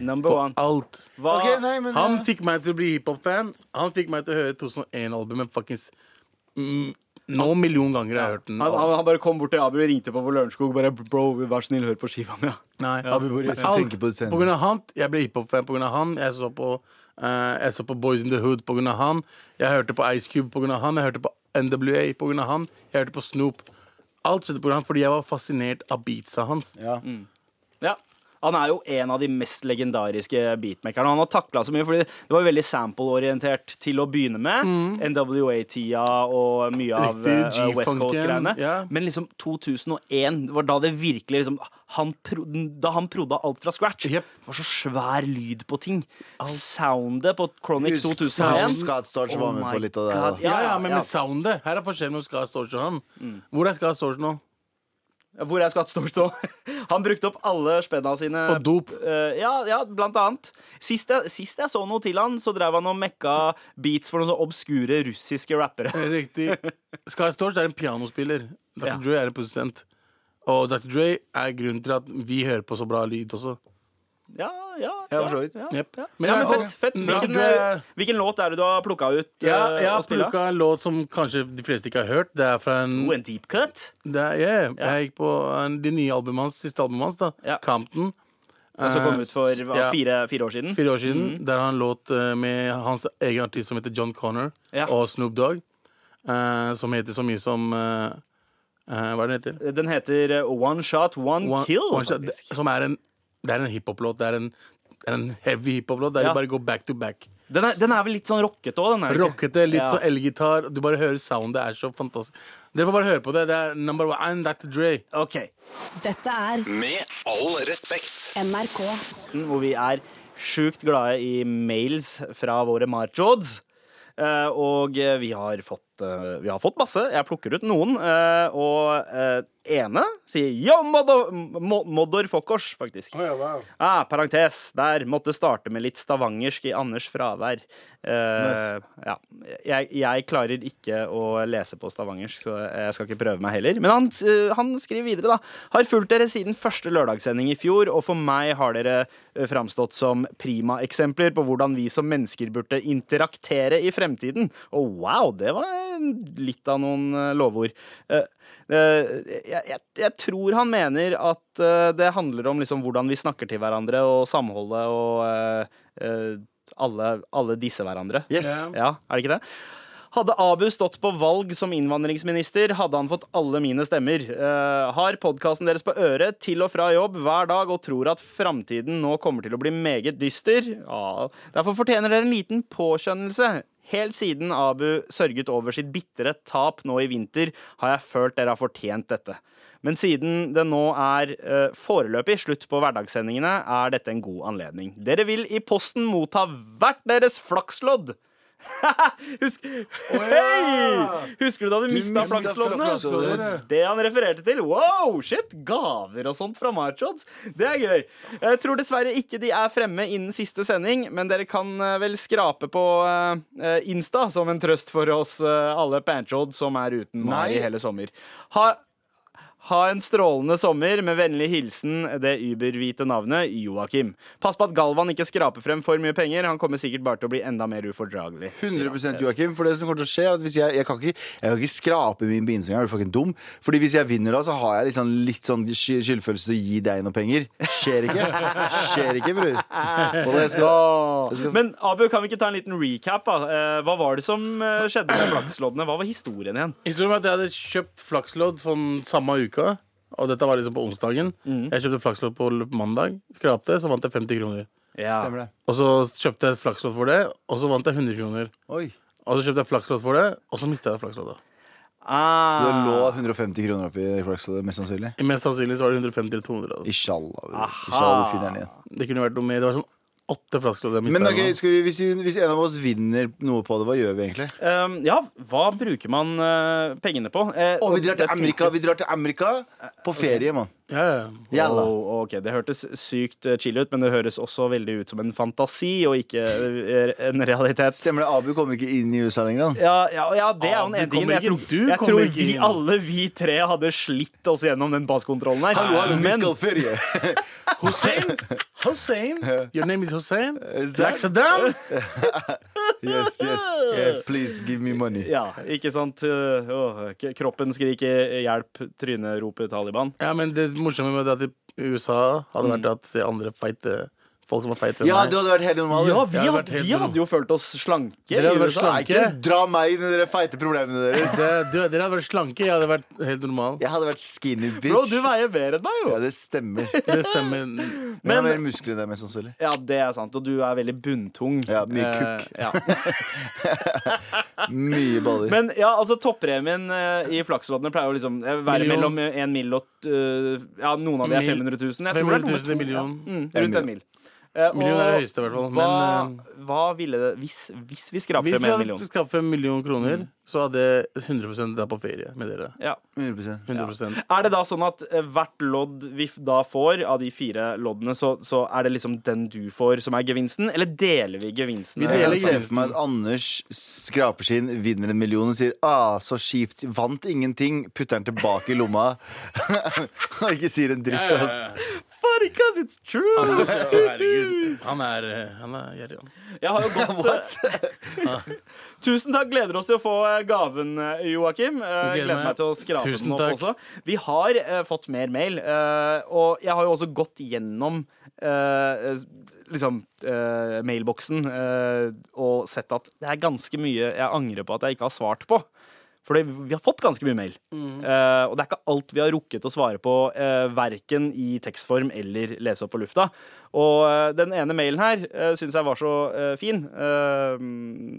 S3: Number
S6: på
S3: one.
S6: alt.
S3: Hva,
S2: Ok, nei, men
S6: Han
S2: eh,
S6: fikk meg til å bli hiphop-fan. Han fikk meg til å høre 2001-albumet fuckings mm, Noen million ganger har jeg hørt den.
S3: han, han, han bare kom bort til Abu og ringte på på Lørenskog. Bare 'bro, vær snill, hør på skiva mi'. Ja.
S6: Nei.
S2: Abu Boris,
S6: Men
S2: jeg tenker på det senere.
S6: på grunn av han, jeg ble hiphop-fan på grunn av han. Jeg så på, eh, jeg så på Boys in the Hood på grunn av han. Jeg hørte på Ice Cube på grunn av han. Jeg hørte på NWA på grunn av han. Jeg hørte på Snoop. Alt skjedde på grunn av han fordi jeg var fascinert av beatsa hans.
S2: ja.
S3: Mm. Ja. Han er jo en av de mest legendariske beatmakerne. Han har takla så mye, fordi det var jo veldig sample-orientert til å begynne med. NWA-tida og mye av
S6: Mm. Riktig,
S3: eh, West
S6: G-funken,
S3: Coast-greiene.
S6: ja.
S3: Men liksom 2001 det var da det virkelig liksom han pro, Da han prodda alt fra scratch.
S6: Jep.
S3: Det var så svær lyd på ting. Soundet på Chronic
S2: Husk, husk
S3: 2001
S2: Scott Storch var med på litt av det.
S3: God,
S2: her, da.
S3: ja.
S6: Ja, ja, men
S3: ja.
S6: med soundet. Her er forskjellen mellom Skar Storch og han. Hvor er Skar Storch nå?
S3: Hvor er Skatt Storstå? Han brukte opp alle spenna sine
S6: På dop.
S3: Eh, ja, ja, blant annet. Sist jeg, sist jeg så noe til han, så drev han og mekka beats for noen sånne obskure russiske rappere.
S6: Riktig. Skar Storch er en pianospiller. Dr.
S3: eh, Ja.
S6: Dre er en produsent. Og Dr. Dre er grunnen til at vi hører på så bra lyd også.
S3: Ja, ja.
S2: Ja, for så vidt.
S3: Ja,
S6: Jep.
S3: ja.
S6: Men
S3: ja,
S6: i
S3: men
S6: hvert fall-
S3: fett. fett.
S6: Ja,
S3: Hvilken,
S6: du er-
S3: eh, hvilken låt er det du har plukka ut
S6: Ja,
S3: eh,
S6: jeg
S3: og
S6: har
S3: spilla?
S6: plukka en låt som kanskje de fleste ikke har hørt. Det er fra en
S3: Oh, en deep cut?
S6: det er, yeah, Jeg gikk på en, de nye albumet hans, siste albumet hans, da.
S3: Ja.
S6: Compton.
S3: Som kom ut for Mhm. hva,
S6: Eh, ja.
S3: fire, fire år siden?
S6: Fire år siden. Der han låt eh, med hans egen artist som heter John Connor,
S3: Ja.
S6: og Snoop Dogg. eh, som heter så mye som eh, eh, Hva er den heter?
S3: Den heter eh, One Shot, One,
S6: One-
S3: Kill.
S6: One Shot,
S3: faktisk.
S6: som er en, det er en hiphop-låt. Det er en, det er en heavy hiphop-låt der
S3: Ja.
S6: de bare går back to back.
S3: Den, er, den er vel litt sånn rockete òg, den er ikke?
S6: Rockete, litt
S3: Ja.
S6: sånn elgitar. Du bare hører soundet. Det er så fantastisk. Dere får bare høre på det. Det er number one, Dr. Dre.
S3: Ok.
S1: Dette er
S5: Med all respekt.
S1: NRK.
S3: spalten hvor vi er sjukt glade i mails fra våre marjods. Eh, og eh, vi har fått fått, eh, vi har fått masse. Jeg plukker ut noen. eh, og eh, ene sier yo, modder, modder fokkers, faktisk. Ah, parentes. Der måtte starte med litt stavangersk i Anders fravær. Eh, ja. jeg, jeg klarer ikke å lese på stavangersk, så jeg skal ikke prøve meg heller. Men han, eh, han skriver videre, da. Har fulgt dere siden første lørdagssending i fjor, og for meg har dere eh, framstått som prima-eksempler på hvordan vi som mennesker burde interaktere i fremtiden. Og wow, det var litt av noen eh, lovord. Eh, Eh, jeg, jeg, jeg tror han mener at eh, det handler om liksom hvordan vi snakker til hverandre og samholdet og eh, eh, alle, alle disse hverandre.
S2: Yes.
S3: Ja, er det ikke det? Hadde Abu stått på valg som innvandringsminister, hadde han fått alle mine stemmer. Eh, har podkasten deres på øret til og fra jobb hver dag og tror at framtiden nå kommer til å bli meget dyster. Ja, derfor fortjener dere en liten påskjønnelse. Helt siden Abu sørget over sitt bitre tap nå i vinter, har jeg følt dere har fortjent dette. Men siden det nå er eh, foreløpig slutt på hverdagssendingene, er dette en god anledning. Dere vil i posten motta hvert deres flakslodd. Husk Hei! Husker du da du, mista
S2: mistet
S3: flaksloddene?
S2: flaksloddene.
S3: Det han refererte til. Wow, shit! Gaver og sånt fra Marchods. Det er gøy. Jeg tror dessverre ikke de er fremme innen siste sending, men dere kan eh, vel skrape på eh, Insta som en trøst for oss eh, alle panchods som er uten mai
S2: Nei.
S3: hele sommer. Ha ha en strålende sommer. Med vennlig hilsen det überhvite navnet Joakim. Pass på at Galvan ikke skraper frem for mye penger. Han kommer sikkert bare til å bli enda mer ufordragelig. sier han.
S2: 100 Joakim. For det som kommer til å skje, er at hvis jeg, jeg, kan ikke, jeg kan ikke skrape min på Instagram. Er du fucking dum? Fordi hvis jeg vinner da, så har jeg litt sånn, litt sånn sky- skyldfølelse til å gi deg noen penger. Skjer ikke. Skjer ikke, bror. Og jeg skal
S3: Åh.
S2: Jeg skal-
S3: Men Abu, kan vi ikke ta en liten recap? da? Eh, Hva var det som eh, skjedde med flaksloddene? Hva var historien igjen?
S6: Historien var at jeg hadde kjøpt flakslodd for den samme uka. Og dette var liksom på onsdagen. Jeg kjøpte flakslodd på l- mandag, skrapte, så vant jeg 50 kroner.
S2: Stemmer det.
S6: Og så kjøpte jeg flakslodd for det, og så vant jeg 100 kroner.
S2: Oi.
S6: Og så kjøpte jeg flakslodd for det, og så mista jeg flaksloddet.
S2: Så det lå 150 kroner oppi Clarkstad, mest sannsynlig.
S6: Mest sannsynlig så var det 150 eller 200. Altså.
S2: Inshallah. bror. Inshallah du finner den igjen.
S6: Det kunne vært noe mer. Det var sånn åtte flakslodd jeg mista.
S2: Men ok, skal vi, hvis, vi- hvis en av oss vinner noe på det, hva gjør vi egentlig?
S3: Um, ja, hva bruker man eh, pengene på? Eh,
S2: Å, vi drar til
S3: jeg
S2: Amerika! Vi drar til Amerika på ferie, mann.
S6: ja, ja.
S2: Jalla.
S3: Wow, ok, Det hørtes sykt eh, chill ut, men det høres også veldig ut som en fantasi og ikke eh, en realitet.
S2: Stemmer det, Abu kommer ikke inn i USA lenger? Han.
S3: Ja, ja, ja, det er jo den
S6: Ah, du
S3: ene tingen.
S6: kommer
S3: Jeg tror,
S6: ikke- du
S3: jeg
S6: kommer
S3: tror
S6: ikke
S3: vi
S6: inn.
S3: alle vi tre hadde slitt oss gjennom den passkontrollen her.
S2: Hallo, hallo, vi
S3: men
S2: skal ferie!
S6: Hussein! Hussein! Your name is Hussein?
S2: Is that-
S6: Like Saddam?
S2: Yes, yes, yes. Please give me money.
S3: ja, ikke sant? Eh, åh, k- kroppen skriker 'hjelp', trynet roper Taliban.
S6: Ja, men det morsomme med det at i USA hadde vært at se andre feite folk som var feite enn
S2: Ja,
S6: meg.
S2: du hadde vært helt normal.
S3: Ja,
S2: Ja,
S3: vi
S6: Jeg hadde vært
S3: hadde,
S6: helt
S3: vi
S6: rom.
S3: hadde jo følt oss slanke.
S6: Dere hadde
S3: i
S6: vært
S3: USA.
S6: slanke.
S2: ikke dra meg inn i de feite problemene deres.
S6: Det, du, dere hadde vært slanke, jeg hadde vært helt normal.
S2: Jeg hadde vært skinny bitch.
S3: Bro, du veier mer enn meg, jo.
S2: Ja, det stemmer.
S6: Det stemmer.
S2: Men jeg har mer muskler enn deg, mest sannsynlig.
S3: Ja, det er sant. Og du er veldig bunntung.
S2: Ja, mye
S3: Eh,
S2: kukk.
S3: ja.
S2: Mye baller.
S3: Men ja, altså toppremien eh, i flaksloddene pleier jo liksom eh, være
S6: Million.
S3: mellom en mill og eh, Ja, noen av de er
S6: Mil.
S3: 500 000. Jeg tror det er
S6: 500
S3: nummer to.
S6: 000 til million.
S3: Mm, rundt en mil. Eh, og
S6: Million er det høyeste, i hvert fall,
S3: Hva,
S6: men, eh,
S3: hva ville det Hvis, hvis vi skraper
S6: Hvis vi
S3: med en million?
S6: hadde skaffet en million kroner,
S3: Mm.
S6: så hadde jeg 100 vært på ferie med dere.
S3: Ja.
S2: 100
S6: 100
S3: Er det da sånn at eh, hvert lodd vi f- da får, av de fire loddene, så, så er det liksom den du får, som er gevinsten? Eller deler vi gevinsten?
S6: Vi
S2: Jeg
S6: deler
S2: kan
S6: Hele
S2: se
S6: gevinsten.
S2: for meg at Anders skraper sin, vinner en million og sier ah, 'så kjipt, vant ingenting', putter den tilbake i lomma og ikke sier en dritt. Altså.
S3: Funny, 'cause it's true!
S6: Herregud. Han er eh, Han er gjerrig, han.
S3: Jeg har jo gått eh, Tusen takk. Gleder oss til å få eh, gaven, eh, Joakim. Eh,
S6: Gleder
S3: Gleder meg
S6: meg.
S3: til å skrape
S6: Tusen
S3: den opp
S6: takk.
S3: også. Vi har eh, fått mer mail, eh, og jeg har jo også gått gjennom eh, eh, liksom eh, mailboksen eh, og sett at det er ganske mye jeg angrer på at jeg ikke har svart på. Fordi vi har fått ganske mye mail. Eh, og det er ikke alt vi har rukket å svare på, uh, verken i tekstform eller lese opp på lufta. Og eh, den ene mailen her uh, syns Eh, jeg var så eh, fin, Eh,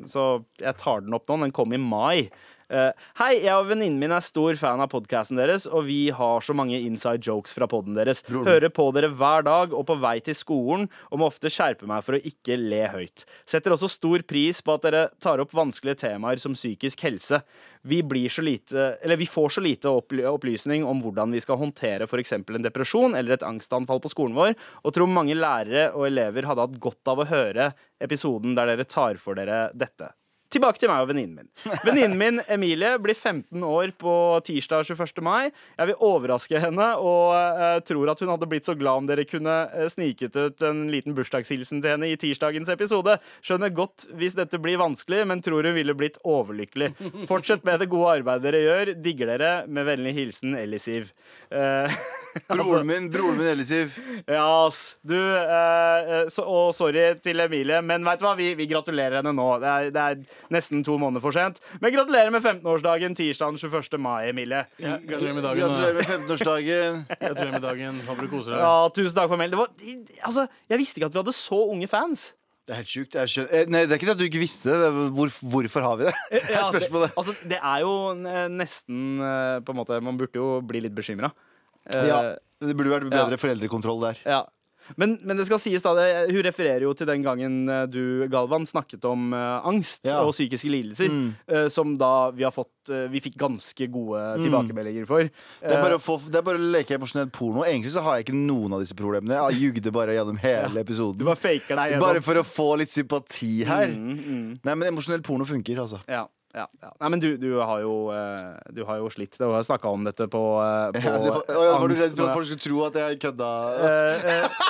S3: så jeg tar den opp nå. Den kom i mai. eh, Hei, jeg og venninnen min er stor fan av podcasten deres, og vi har så mange inside jokes fra podden deres. Hører på dere hver dag og på vei til skolen, og må ofte skjerpe meg for å ikke le høyt. Setter også stor pris på at dere tar opp vanskelige temaer som psykisk helse. Vi, blir så lite, eller vi får så lite opply- opplysning om hvordan vi skal håndtere f.eks. en depresjon eller et angstanfall på skolen vår, og tror mange lærere og elever hadde hatt godt av å høre episoden der dere tar for dere dette. Tilbake til meg og venninnen min. Venninnen min Emilie blir 15 år på tirsdag 21. mai. Jeg vil overraske henne og eh, tror at hun hadde blitt så glad om dere kunne eh, sniket ut en liten bursdagshilsen til henne i tirsdagens episode. Skjønner godt hvis dette blir vanskelig, men tror hun ville blitt overlykkelig. Fortsett med det gode arbeidet dere gjør. Digger dere. Med vennlig hilsen Ellisiv. Eh, altså-
S2: Broren min, broren min Ellisiv.
S3: ja, ass. Du, eh, eh, så, og sorry til Emilie, men vet du hva? Vi, vi gratulerer henne nå. Det er, det er nesten to måneder for sent. Men gratulerer med 15-årsdagen tirsdag den 21. mai, Emilie.
S6: Ja, gratulerer med dagen.
S2: Gratulerer
S6: da.
S2: med 15-årsdagen.
S6: Gratulerer med dagen. Håper du koser deg.
S3: Ja, tusen takk for meldingen. Det var- Altså, jeg visste ikke at vi hadde så unge fans.
S2: Det er helt sjukt. Det er, skjønt. Eh, Nei, det er ikke det at du ikke visste det. det. er Hvor, hvorfor har vi det? Det er
S3: Ja,
S2: spørsmålet.
S3: Det, altså, det er jo eh, nesten eh, På en måte, man burde jo bli litt bekymra. eh,
S2: Ja, det burde vært bedre foreldrekontroll der.
S3: Ja. Men, men det skal sies da, det- hun refererer jo til den gangen eh, du, Galvan, snakket om eh, angst
S2: Ja. Mm.
S3: og psykiske lidelser, eh, som da vi har fått eh, Vi fikk ganske gode tilbakemeldinger for.
S2: Mm.
S3: Eh,
S2: Det er bare å, få, det er bare å leke emosjonell porno. Egentlig så har jeg ikke noen av disse problemene. Jeg ljugde bare gjennom hele episoden.
S3: Du bare faker deg
S2: Bare
S3: gjennom. Mm,
S2: for å få litt sympati her. Nei, men emosjonell porno funker, altså.
S3: Ja, ja, ja. Nei, men du, du, har jo, eh, du har jo slitt. Du har snakka om dette på, eh, på
S2: Ja, det var, Å, ja, var du
S3: angst-
S2: redd for at folk skulle tro at jeg kødda?
S3: Eh, eh,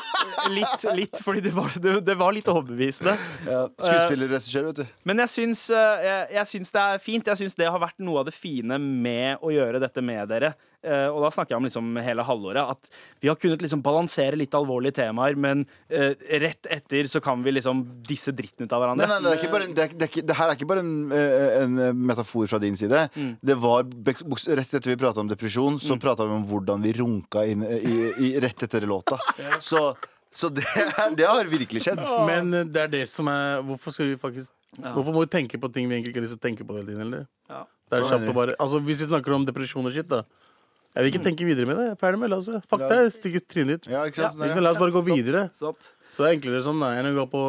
S3: litt, litt, fordi det var, det, det var litt overbevisende.
S2: Ja, Skuespiller og regissør, vet du.
S3: Men jeg syns, eh, jeg, jeg syns det er fint. Jeg syns det har vært noe av det fine med å gjøre dette med dere. Eh, og da snakker jeg om liksom hele halvåret. At vi har kunnet liksom balansere litt alvorlige temaer, men eh, rett etter så kan vi liksom disse dritten ut av
S2: Nei,
S3: hverandre.
S2: nei, det, er ikke bare, en- det, er, ikke- det, er, ikke- det her er ikke bare en, eh, en metafor fra din side. Det var bek- boks- Rett etter vi prata om depresjon, så pratet prata vi om hvordan vi runka inn eh, i, i, rett etter låta. Så, så det, er- det har virkelig skjedd.
S6: Men eh, det er det som er Hvorfor skal vi faktisk Hvorfor må vi tenke på ting vi egentlig ikke har lyst til å tenke på hele tiden? Eller?
S3: Ja.
S6: Det er
S2: Hva
S6: kjapt
S2: mener
S6: å bare Altså Hvis vi snakker om depresjon og shit, da. Jeg
S3: Mm.
S6: vil ikke tenke videre med det. Jeg er ferdig med det. Altså. Fuck det, stygge trynet ditt.
S2: Ja, ikke sant? Sånn der,
S6: Ikke sant? La oss bare gå videre.
S3: Sant?
S6: Så det er enklere sånn nei, enn å gå på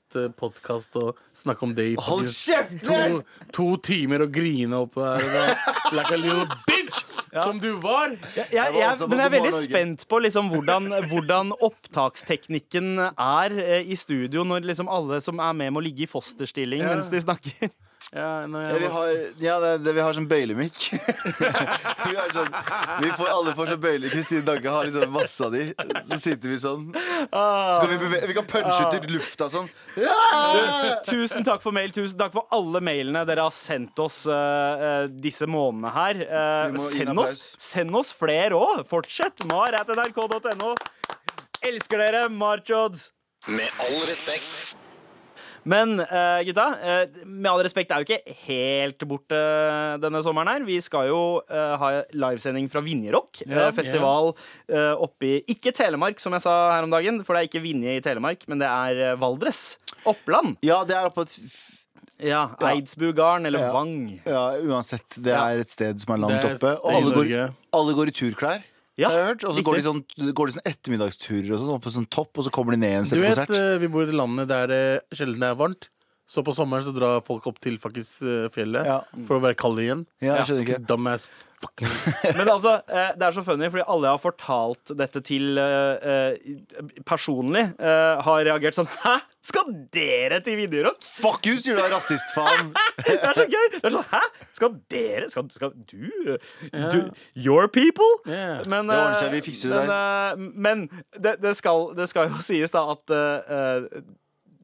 S6: angstpodkast og snakke om det i
S2: ja. Hold kjeft!
S6: to, to timer og grine oppå her. og da- Like a little bitch! Som du var!
S3: Jeg, jeg,
S2: Det var altså på
S3: men jeg er
S2: God
S3: veldig
S2: Morgen Norge.
S3: spent på liksom hvordan, hvordan opptaksteknikken er eh, i studio når liksom alle som er med, må ligge i fosterstilling
S6: Ja.
S3: mens de snakker.
S6: Ja, når
S2: Ja,
S6: jeg
S2: vi
S6: var,
S2: har, ja, det, er det vi har sånn bøylemikk. vi har sånn, vi får, alle får sånn bøyle. Kristine Danke har liksom masse av de. Så sitter vi sånn. Så kan vi, beve vi kan punche ut i lufta sånn. Ja!
S3: Tusen takk for mail. Tusen takk for alle mailene dere har sendt oss eh, eh, disse månedene her. Eh,
S2: Vi må gi en
S3: send, oss,
S2: applaus.
S3: send oss flere òg. Fortsett. Mar.nrk.no. Elsker dere, Marchods.
S5: Med all respekt.
S3: Men eh, gutta, eh, med all respekt, det er jo ikke helt borte eh, denne sommeren her. Vi skal jo eh, ha livesending fra Vinjerock. eh, festival eh, oppe i Ikke Telemark, som jeg sa her om dagen, for det er ikke Vinje i Telemark, men det er eh, Valdres. Oppland.
S2: Ja, det er oppe et
S3: Ja, Eidsbu garn, eller
S2: Ja.
S3: Vang.
S2: Ja, uansett. Det
S3: Ja.
S2: er et sted som er
S6: Det
S2: langt
S6: er-
S2: oppe.
S6: det
S2: Og
S6: er i
S2: alle går,
S6: Norge.
S2: alle går i turklær.
S3: Ja,
S2: har jeg hørt. Og så går de
S3: riktig.
S2: sånn, går de sånn ettermiddagsturer og sånn, opp på sånn topp, og så kommer de ned igjen og
S6: du
S2: ser
S6: vet,
S2: konsert.
S6: eh, vi bor i det landet der det sjelden er varmt. Så på sommeren så drar folk opp til faktisk eh, fjellet
S2: Ja.
S6: for å være kalde igjen.
S2: Ja, jeg skjønner ikke.
S6: Dumbass fucking
S3: Men altså, eh, det er så funny, fordi alle jeg har fortalt dette til eh, eh, personlig, eh, har reagert sånn Hæ? Skal dere til videorock?
S2: Fuck you, sier du da, rasistfaen!
S3: Det er så gøy! Det er sånn, Hæ? Skal dere? Skal, skal du? du? Your people?
S6: Ja.
S3: Men,
S2: Det ordner
S3: eh,
S2: seg, vi fikser det
S3: men, eh, men det, det, skal, det skal jo sies da at eh, eh,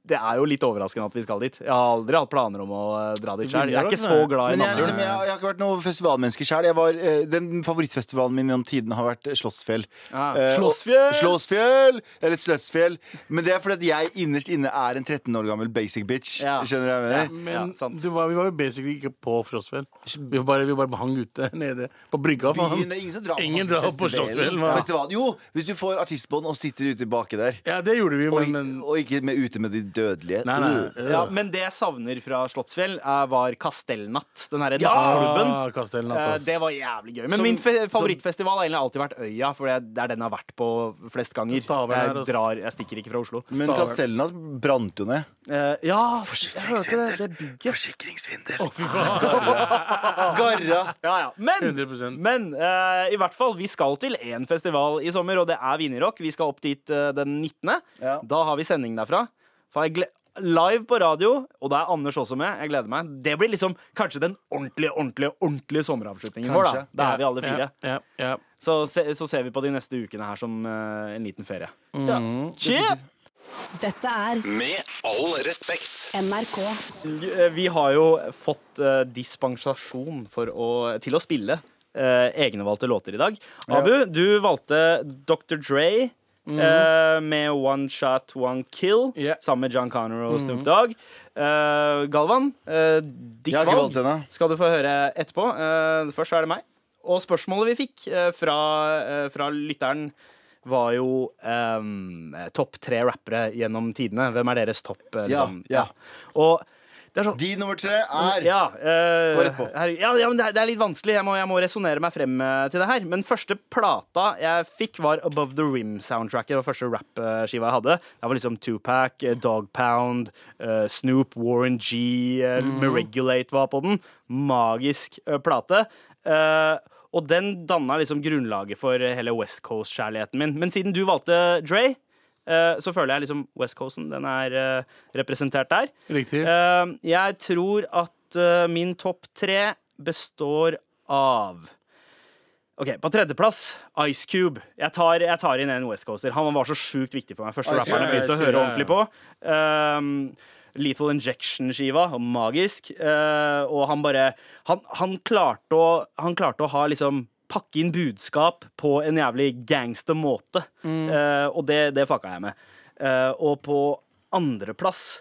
S3: det er jo litt overraskende at vi skal dit. Jeg har aldri hatt planer om å eh, dra dit
S6: Til
S3: sjøl. Jeg er ikke så
S6: Vinjerock, nei.
S3: glad i
S2: Men jeg, er
S3: naturen.
S2: liksom, jeg, jeg har ikke vært noe festivalmenneske sjøl. eh, Den favorittfestivalen min gjennom tidene har vært eh, Slottsfjell.
S3: Ah,
S2: Eh, og-
S3: Slottsfjell!
S2: Slåssfjell! Eller Sløtsfjell. Men det er fordi at jeg innerst inne er en 13 år gammel basic bitch.
S3: Ja.
S2: Skjønner du hva jeg mener?
S3: Ja,
S6: Men
S3: sant.
S6: det var, vi var jo basically ikke på Frostfjell. Vi var bare, vi bare hang ute nede på brygga.
S2: Byen,
S6: Faen.
S2: det er ingen som drar
S6: Ingen
S2: på
S6: drar på
S2: festivalen.
S6: Slottsfjell, hva?
S2: Festival. Jo, hvis du får artistbånd og sitter ute baki der.
S6: Ja, det gjorde vi,
S2: Og,
S6: men, men
S2: og ikke med ute med de Uh. dødelighet.
S6: Nei, nei.
S3: Ja,
S2: Øh.
S3: men det jeg savner fra Slottsfjell, er, var Kastellnatt. Den herre nattklubben.
S6: Ah, Kastell
S3: Eh,
S6: Natt,
S3: Det
S6: ass.
S3: var jævlig gøy. Men
S2: Som-
S3: min fe-
S2: som-
S3: favorittfestival har egentlig alltid vært Øya, for det er den jeg har vært på flest ganger.
S6: Stavern her
S3: Jeg
S6: også.
S3: drar, jeg stikker ikke fra Oslo.
S2: altså. Men Castellna brant jo ned.
S3: Eh, ja, jeg hørte det. Det bygget.
S2: Forsikringssvindel. Garra.
S3: Ja, ja. Men,
S6: 100
S3: men eh, i hvert fall, vi skal til én festival i sommer, og det er Vinjerock. Vi skal opp dit eh, den 19.
S2: Ja.
S3: Da har vi sending derfra. For jeg gle Live på radio, og da er Anders også med. Jeg gleder meg. Det blir liksom kanskje den ordentlige ordentlige, ordentlige sommeravslutningen vår. da
S2: Kanskje.
S3: Da er vi alle fire.
S6: Ja, ja, ja.
S3: Så, se, så ser vi på de neste ukene her som eh, en liten ferie.
S2: Ja.
S3: Shit!
S1: Dette er
S5: Med all respekt.
S1: NRK.
S3: Eh, Vi har jo fått eh, dispensasjon for å, til å spille eh, egenvalgte låter i dag. Abu, du valgte Dr. Dre eh, med One Shot, One Kill
S6: Ja.
S3: sammen med John Connor og Snoop Dogg. Eh, Galvan, eh, ditt
S2: Jeg har ikke valgt
S3: valg
S2: henne.
S3: skal du få høre etterpå. Eh, først så er det meg. Og spørsmålet vi fikk eh, fra, eh, fra lytteren var jo eh, topp tre rappere gjennom tidene. Hvem er deres topp? eh,
S2: Ja,
S3: liksom?
S2: ja.
S3: Og det er sånn
S2: De nummer tre er
S3: ja, eh,
S2: Gå rett på.
S3: her, ja, ja, men det er, det er litt vanskelig. Jeg må, jeg må resonnere meg frem eh, til det her. Men første plata jeg fikk, var Above The Rim-soundtracket. Det var første rappskiva jeg hadde. Det var liksom Tupac, eh, Dog Pound, eh, Snoop, Warren G, eh,
S2: Mhm.
S3: Regulate var på den. Magisk eh, plate. Eh, og den danna liksom grunnlaget for hele West Coast-kjærligheten min. Men siden du valgte Dre, eh, så føler jeg liksom West Coasten den er eh, representert der.
S6: Riktig.
S3: Eh, jeg tror at eh, min topp tre består av Ok, På tredjeplass Ice Cube. Jeg tar, jeg tar inn en West Coaster. Han var så sjukt viktig for meg. Første
S2: Ice Cube,
S3: rapperen jeg begynte å
S6: Ice
S3: høre ordentlig
S6: Cube,
S3: på. Ehm, Lethal Injection-skiva, magisk. Eh, og han bare han, han, klarte å, han klarte å ha liksom pakke inn budskap på en jævlig gangster måte. Eh, og det, det fucka jeg med. Eh, og på andreplass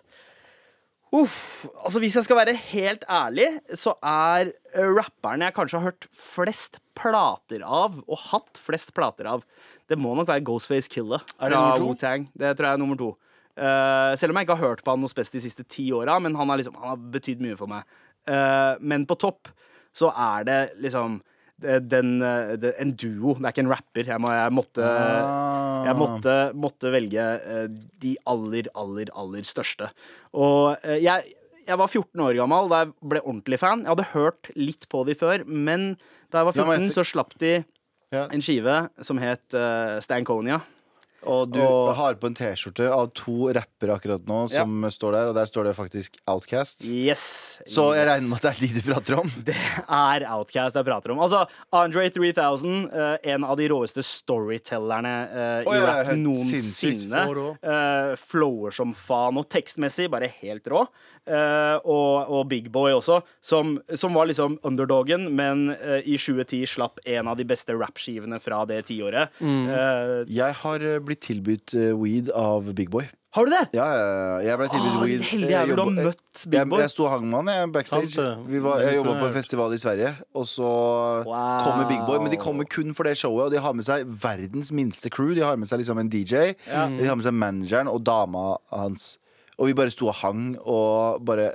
S3: Uff, altså Hvis jeg skal være helt ærlig, så er eh, rapperen jeg kanskje har hørt flest plater av, og hatt flest plater av, det må nok være Ghostface Killer
S2: det
S3: fra
S2: nummer to?
S3: Wu-Tang. Det tror jeg er nummer to. Eh, selv om jeg ikke har hørt på han noe spesielt de siste ti åra, men han har, liksom, han har betydd mye for meg. Eh, men på topp så er det liksom eh, den, eh, det, en duo. Det er ikke en rapper. Jeg, må, jeg måtte
S2: Ah.
S3: jeg måtte, måtte velge eh, de aller, aller, aller største. Og eh, jeg, jeg var 14 år gammel da jeg ble ordentlig fan. Jeg hadde hørt litt på de før, men da jeg var
S2: La meg
S3: 14,
S2: gjette.
S3: så slapp de
S2: Ja.
S3: en skive som het eh, Stankonia.
S2: Og du
S3: Og-
S2: har på en T-skjorte av to rappere akkurat nå
S3: Ja.
S2: som står der, og der står det faktisk Outcast.
S3: Yes.
S2: Så jeg
S3: yes.
S2: regner med at det er de du prater om.
S3: Det er Outcast jeg prater om. Altså, Andre 3000, eh, en av de råeste storytellerne eh,
S2: Å,
S3: i
S2: ja, ja,
S3: rap
S2: helt sinnssykt.
S3: noensinne.
S6: Så rå.
S3: Eh, flower som faen, og tekstmessig bare helt rå. Eh, og, og Big Boy også, som, som var liksom underdogen, men eh, i 2010 slapp en av de beste rappskivene fra det tiåret.
S6: Mm.
S3: Eh,
S2: Jeg har eh, blitt tilbudt eh, weed av Big Boy.
S3: har du det?!
S2: Ja, ja, ja, jeg ble tilbudt
S3: Åh,
S2: weed.
S3: heldig
S2: Jeg
S3: jævel, du har
S2: jobba-
S3: møtt Big Boy.
S2: Jeg, jeg sto og hang med han jeg, backstage.
S6: Sant det.
S2: Vi var, jeg
S6: Det er
S2: jobba på
S6: smart.
S2: en festival i Sverige, og så
S3: liksom- Wow.
S2: kommer Big Boy. Men de kommer kun for det showet, og de har med seg verdens minste crew. De har med seg liksom en DJ, de har med seg manageren og dama hans. Og vi bare sto og hang og bare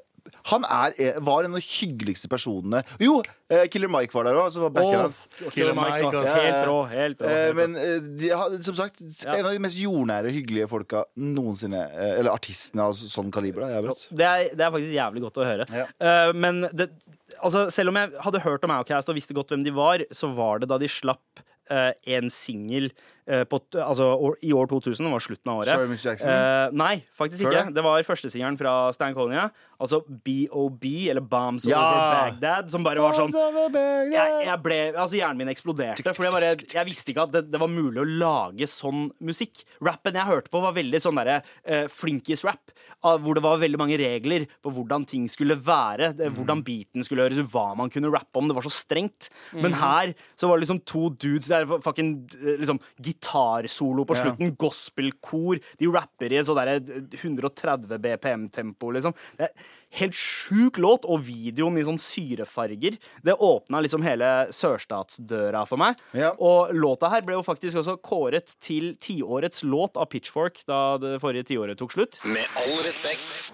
S2: han er, eh, var en av de hyggeligste personene Jo, eh, Killer Mike var der òg, som var backeren hans.
S3: Åh,
S6: Killer Mike,
S3: da.
S6: ass.
S3: Helt rå. Helt rå,
S2: Eh,
S3: helt rå.
S2: men eh, de, har- som sagt, en av de mest jordnære, hyggelige folka noensinne. eh, Eller artistene av så- sånn kaliber. Da, jeg har møtt.
S3: Det er, det er faktisk jævlig godt å høre. Eh, men det, altså, selv om jeg hadde hørt om Outcast og visste godt hvem de var, så var det da de slapp eh, en singel eh, på t- altså, år, i år 2000. Det var slutten av året.
S2: Sorry, Miss Jackson.
S3: Eh, nei, faktisk
S2: Før
S3: ikke.
S2: det?
S3: Det var førstesingelen fra Stankonia. Altså BOB, eller Bombs
S2: Ja.
S3: Over Baghdad, som bare var sånn jeg,
S2: Sånn.
S3: jeg ble, altså Hjernen min eksploderte. Fordi jeg, bare, jeg visste ikke at det, det var mulig å lage sånn musikk. Rappen jeg hørte på, var veldig sånn derre eh, flinkis-rap. av- Hvor det var veldig mange regler på hvordan ting skulle være. eh, Det, hvordan beaten skulle høres, hva man kunne rappe om. Det var så strengt. Men her så var det liksom to dudes. Det det er fucking eh, liksom, gitarsolo på slutten, gospelkor. De rapper i et sånt derre 130 BPM-tempo, liksom. Det er helt sjuk låt, og videoen i sånn syrefarger. Det åpna liksom hele sørstatsdøra for meg.
S2: Ja.
S3: Og låta her ble jo faktisk også kåret til tiårets låt av Pitchfork da det forrige tiåret tok slutt.
S5: Med all respekt.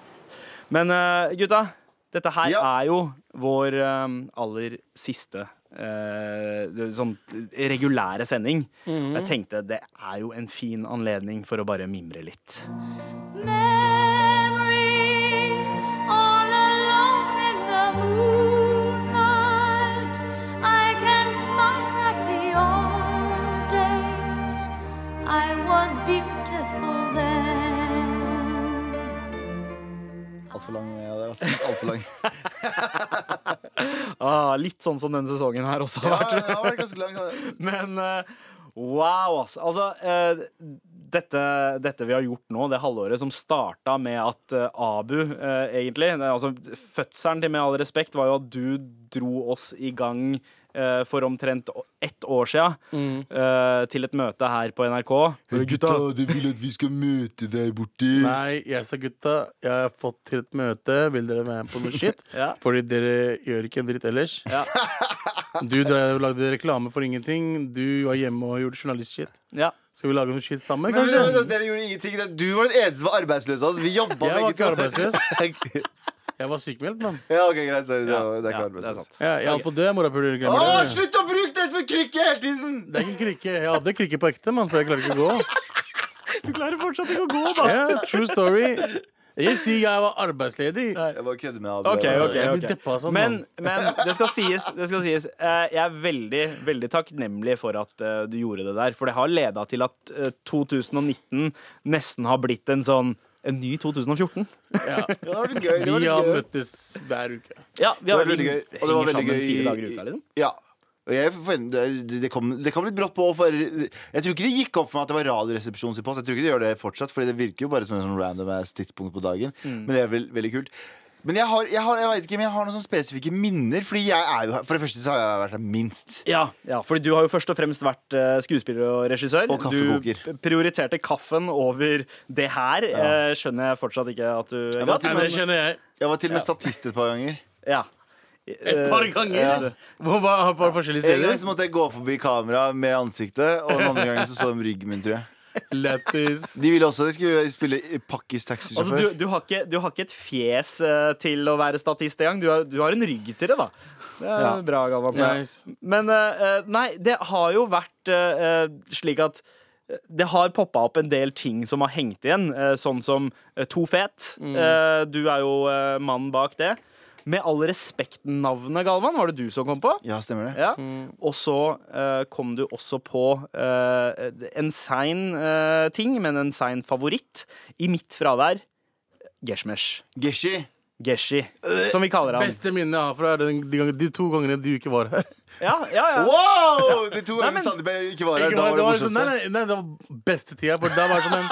S3: Men eh, gutta, dette her
S2: Ja.
S3: er jo vår eh, aller siste eh, det- sånn regulære sending.
S2: Mhm.
S3: Jeg tenkte det er jo en fin anledning for å bare mimre litt.
S4: memory all alone in the moonlight. I can smile at the old days. I was beautiful then.
S2: Altfor lang. Ja, det er altså alt for lang.
S3: Ah, litt sånn som denne sesongen her også har
S2: Ja,
S3: vært.
S2: det har vært ganske lang.
S3: Men eh, wow, ass. Altså, eh, dette, dette vi har gjort nå, det halvåret som starta med at eh, Abu, eh, egentlig det, er Altså, fødselen til Med all respekt var jo at du dro oss i gang eh, for omtrent å- ett år sia eh, til et møte her på NRK.
S2: du vil at vi skal møte deg borti.
S6: Nei, jeg sa gutta, jeg har fått til et møte. Vil dere være med på noe shit?
S3: Ja.
S6: Fordi dere gjør ikke en dritt ellers. Du drev, lagde reklame for ingenting. Du var hjemme og gjorde journalistshit.
S3: Ja.
S6: Skal vi lage noe shit sammen,
S2: Men,
S6: kanskje?
S2: men, men, dere gjorde ingenting. Det- Du var den eneste som var arbeidsløs. Altså. Vi jobba
S6: Jeg var
S2: begge
S6: ikke arbeidsløs.
S2: arbeidsløs.
S6: Jeg var sykemeldt, mann.
S2: ja, ok, greit. Sorry. Det, var, det er
S3: ja,
S2: ikke
S3: det er
S2: arbeidsløs.
S3: sant.
S6: Ja, jeg holdt på å dø, morapuler.
S2: Å,
S6: Glemmer det.
S2: slutt å bruke det som en krykke hele tiden!
S6: Det er ikke en krykke. Jeg hadde krykke på ekte, mann, for jeg klarer ikke å gå.
S3: Du klarer fortsatt ikke å gå, da!
S6: Ja, true story. Jeg sier jeg var arbeidsledig.
S2: Jeg bare kødder med Abu.
S3: Ok, ok,
S6: Jeg blir
S3: ok.
S6: deppa sånn,
S3: men,
S6: mann.
S3: men det skal sies. Det skal sies. Eh, Jeg er veldig veldig takknemlig for at eh, du gjorde det der. For det har leda til at eh, 2019 nesten har blitt en sånn en ny 2014.
S2: Ja,
S6: Ja.
S2: det var gøy. Det
S6: Vi
S2: var
S6: har
S2: gøy.
S6: møttes hver uke.
S3: Ja, vi
S2: Det
S3: har
S2: var veldig gøy.
S3: henger
S2: Og det var veldig
S3: sammen
S2: gøy
S3: fire dager i
S2: i-
S3: uka, liksom.
S2: Ja. Og jeg forvent- det, det, kom, det kom litt brått på. For jeg tror ikke det gikk opp for meg at det var Radioresepsjonen sin post. Jeg tror ikke det gjør det fortsatt, Fordi det virker jo bare som en sånn random ass tidspunkt på dagen.
S3: Mm.
S2: Men det er vel, veldig kult. Men jeg har, jeg har, jeg vet ikke, men jeg har noen sånne spesifikke minner. Fordi jeg er jo her For det første så har jeg vært her minst.
S3: Ja, ja, fordi du har jo først og fremst vært eh, skuespiller og regissør.
S2: Og kaffekoker.
S3: Du prioriterte kaffen over det her. Eh, Skjønner jeg fortsatt ikke at du
S2: var til-
S6: Nei, det skjønner jeg.
S2: Jeg var til og med statist et par ganger.
S3: Ja.
S6: Et par ganger. Hvor var var det forskjellige
S2: En gang
S6: steder?
S2: så måtte Eh, jeg gå forbi kamera med ansiktet, og den andre gangen så så de ryggen min, tror jeg.
S6: Lættis.
S2: De ville også at jeg skulle spille i Pakkis
S3: Altså,
S2: taxisjåfør.
S3: du, du, har ikke, du har ikke et fjes eh, til å være statist engang. Du, har- du har en rygg til det, da. Det er
S2: Ja.
S3: bra, Galvan.
S6: Nice.
S3: Men eh, eh, nei, det har jo vært eh, eh, slik at eh, det har poppa opp en del ting som har hengt igjen, eh, sånn som eh, To fet. Eh, Du er jo eh, mannen bak det. Med all respekt-navnet, Galvan, var det du som kom på?
S2: Ja, stemmer det?
S3: Ja. Og så eh, kom du også på eh, en sein eh, ting, men en sein favoritt. I mitt fravær Geshmesh.
S2: Geshi.
S3: Geshi, som vi kaller han.
S6: Beste minnet jeg har fra den, de, gang- de to gangene du ikke var her.
S3: Ja, ja, ja.
S2: Wow! De to
S3: men-
S2: gangene Sandeep ikke var her.
S6: Ikke
S2: Da var
S6: var, det,
S2: det
S6: var sånn, nei,
S2: morsomste.
S6: nei, nei, det var beste tida. For det, var som en,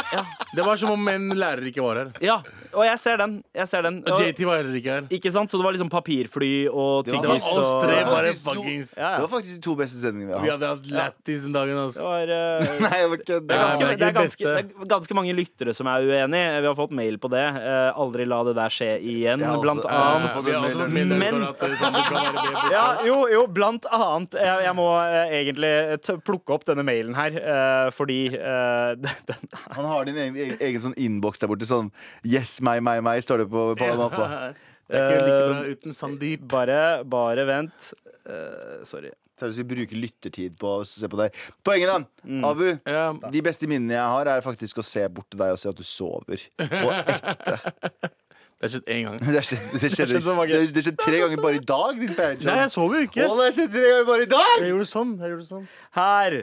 S6: det var som om en lærer ikke var her.
S3: ja. Og jeg ser den. Jeg ser den.
S6: Og
S3: Og,
S6: JT var heller ikke her.
S3: ikke sant? Så det var liksom papirfly og
S2: Det var-
S6: Det var
S3: tyggis
S2: Yes,
S6: oss
S3: og
S6: tre,
S3: Det
S6: bare
S2: Faktisk, jo.
S6: fuckings.
S3: Ja.
S2: Det var faktisk de to beste sendingene vi
S6: Vi
S2: har hatt.
S6: hadde hatt lættis den dagen, altså.
S3: var eh,
S2: Nei, jeg var ikke
S3: Det er,
S6: Nei,
S3: ganske, det, er
S6: men det er ikke det
S3: ganske, det er ganske mange lyttere som er uenig. Vi har fått mail på det. Eh, aldri la det der skje igjen,
S2: Jeg har også-
S3: blant
S2: jeg har også
S3: annet.
S2: fått
S6: Vi har Altså, også fått minner
S3: Men-
S6: for at eh, Sander kan være med på-
S3: Ja, jo, jo, blant annet. Jeg, jeg må eh, egentlig t plukke opp denne mailen her, eh, fordi eh, den,
S2: Han har din egen, egen, egen sånn innboks der borte. Sånn Yes, meg, meg, meg, står det på, på mappa.
S6: Det er ikke like bra
S3: Eh,
S6: uten Sandeep.
S3: bare, bare vent. Eh, sorry.
S2: Så er det så vi bruker lyttertid på å se på deg. Poenget, da. Abu.
S6: Mm. Ja.
S2: De beste minnene jeg har, er faktisk å se bort til deg og se at du sover. På ekte.
S6: Det har skjedd én gang.
S2: Det har skjedd, det skjedde-
S3: Det skjedde så mange.
S2: det- det skjedde tre ganger bare i dag, din Perjan.
S6: Nei, jeg sov jo ikke.
S2: Å, det har skjedd tre ganger bare i dag!
S6: Jeg gjorde sånn. Jeg gjorde sånn.
S3: Her.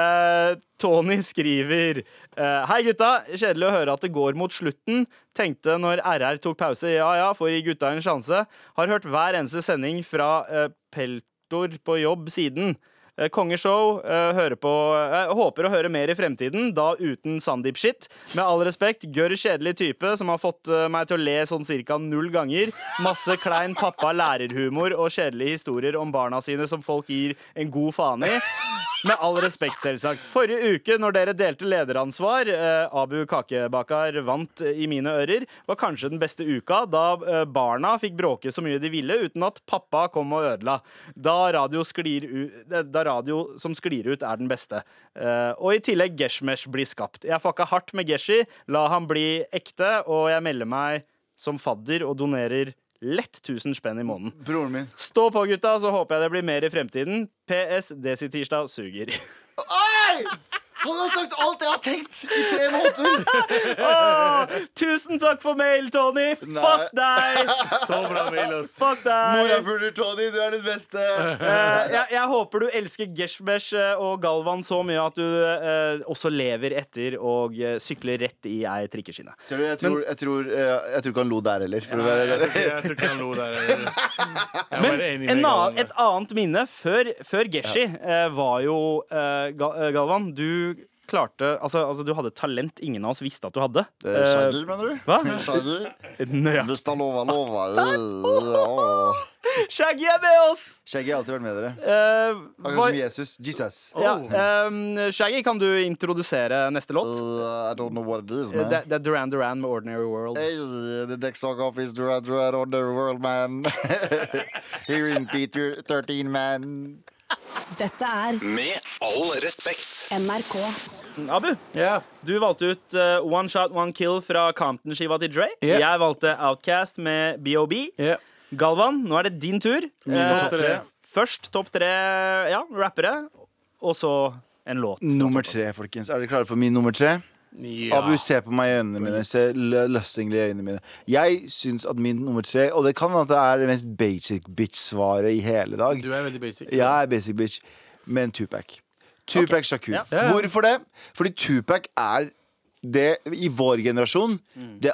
S3: eh, Tony skriver eh, Hei, gutta. Kjedelig å høre at det går mot slutten. Tenkte når RR tok pause, ja ja, får gi gutta en sjanse. Har hørt hver eneste sending fra eh, Peltor på jobb siden. Eh, Kongeshow. eh, hører på eh, Håper å høre mer i fremtiden, da uten Sandeep-shit. Med all respekt, gørr kjedelig type som har fått eh, meg til å le sånn cirka null ganger. Masse klein pappa-lærerhumor og kjedelige historier om barna sine som folk gir en god faen i. Med all respekt, selvsagt. Forrige uke, når dere delte lederansvar, eh, Abu Kakebakar vant eh, i mine ører, var kanskje den beste uka, da eh, barna fikk bråke så mye de ville uten at pappa kom og ødela. Da radio, sklir u eh, da radio som sklir ut, er den beste. Eh, og i tillegg Geshmesh blir skapt. Jeg fucka hardt med Geshi, la han bli ekte, og jeg melder meg som fadder og donerer lett 1000 spenn i måneden.
S7: Broren min.
S3: Stå på, gutta, så håper jeg det blir mer i fremtiden. PS Desi-tirsdag suger.
S7: Oi! Han har sagt alt jeg har tenkt i tre måneder!
S3: Åh, tusen takk for mail, Tony! Fuck deg!
S6: Så bra mail, ass.
S3: Fuck deg!
S7: Morapuler, Tony, du er den beste.
S3: Eh, jeg, jeg håper du elsker Geshmesh eh, og Galvan så mye at du eh, også lever etter og eh, sykler rett i ei trikkeskinne.
S7: Ser du, jeg tror, jeg, tror, eh, jeg tror ikke han lo der heller. For å være
S6: Jeg tror ikke- jeg tror ikke han lo der. Jeg var bare enig med
S3: En
S6: Galvan
S3: annen,
S6: der.
S3: et annet minne før, før Geshi eh, var jo eh, Ga- eh, Galvan, du klarte altså, altså, du hadde et talent ingen av oss visste at du hadde.
S7: Eh,
S3: Eh,
S7: Scheidel, mener du?
S3: hva?
S7: Scheidel?
S3: Nøyaktig.
S7: Hvis da lova, lova Åh.
S3: Shaggy er med oss!
S7: Skjegget har alltid vært med dere.
S3: Eh,
S7: Akkurat
S3: hva-
S7: som Jesus. Jesus.
S3: ja,
S2: Oh.
S3: ehm, Shaggy, kan du introdusere neste låt?
S7: Uh, I don't know what it is,
S3: Eh,
S7: man.
S3: Det, det er Duran Duran med 'Ordinary World'.
S7: Hey, the next song off is Duran Duran on the world, man. Here in Peter 13, man.
S1: Dette er
S5: Med all respekt.
S1: NRK.
S3: Abu,
S6: Ja.
S3: du valgte ut eh, 'One Shot One Kill' fra Compton-skiva til Dre.
S6: Ja.
S3: Jeg valgte 'Outcast' med BOB.
S6: Ja.
S3: Galvan, nå er det din tur. Eh,
S6: topp tre.
S3: først topp tre ja, rappere, og så en låt.
S2: Nummer tre, folkens. Er dere klare for min nummer tre?
S6: Ja.
S2: Abu, se på meg i øynene mine. Se lø- løstingelig i øynene mine. Jeg syns at min nummer tre Og det kan hende at det er det mest basic bitch-svaret i hele dag.
S6: Du er veldig basic.
S2: Jeg er basic bitch, men Tupac. Tupac Shakur.
S3: Ja.
S6: Ja, ja.
S2: Hvorfor det? Fordi Tupac er det i vår generasjon det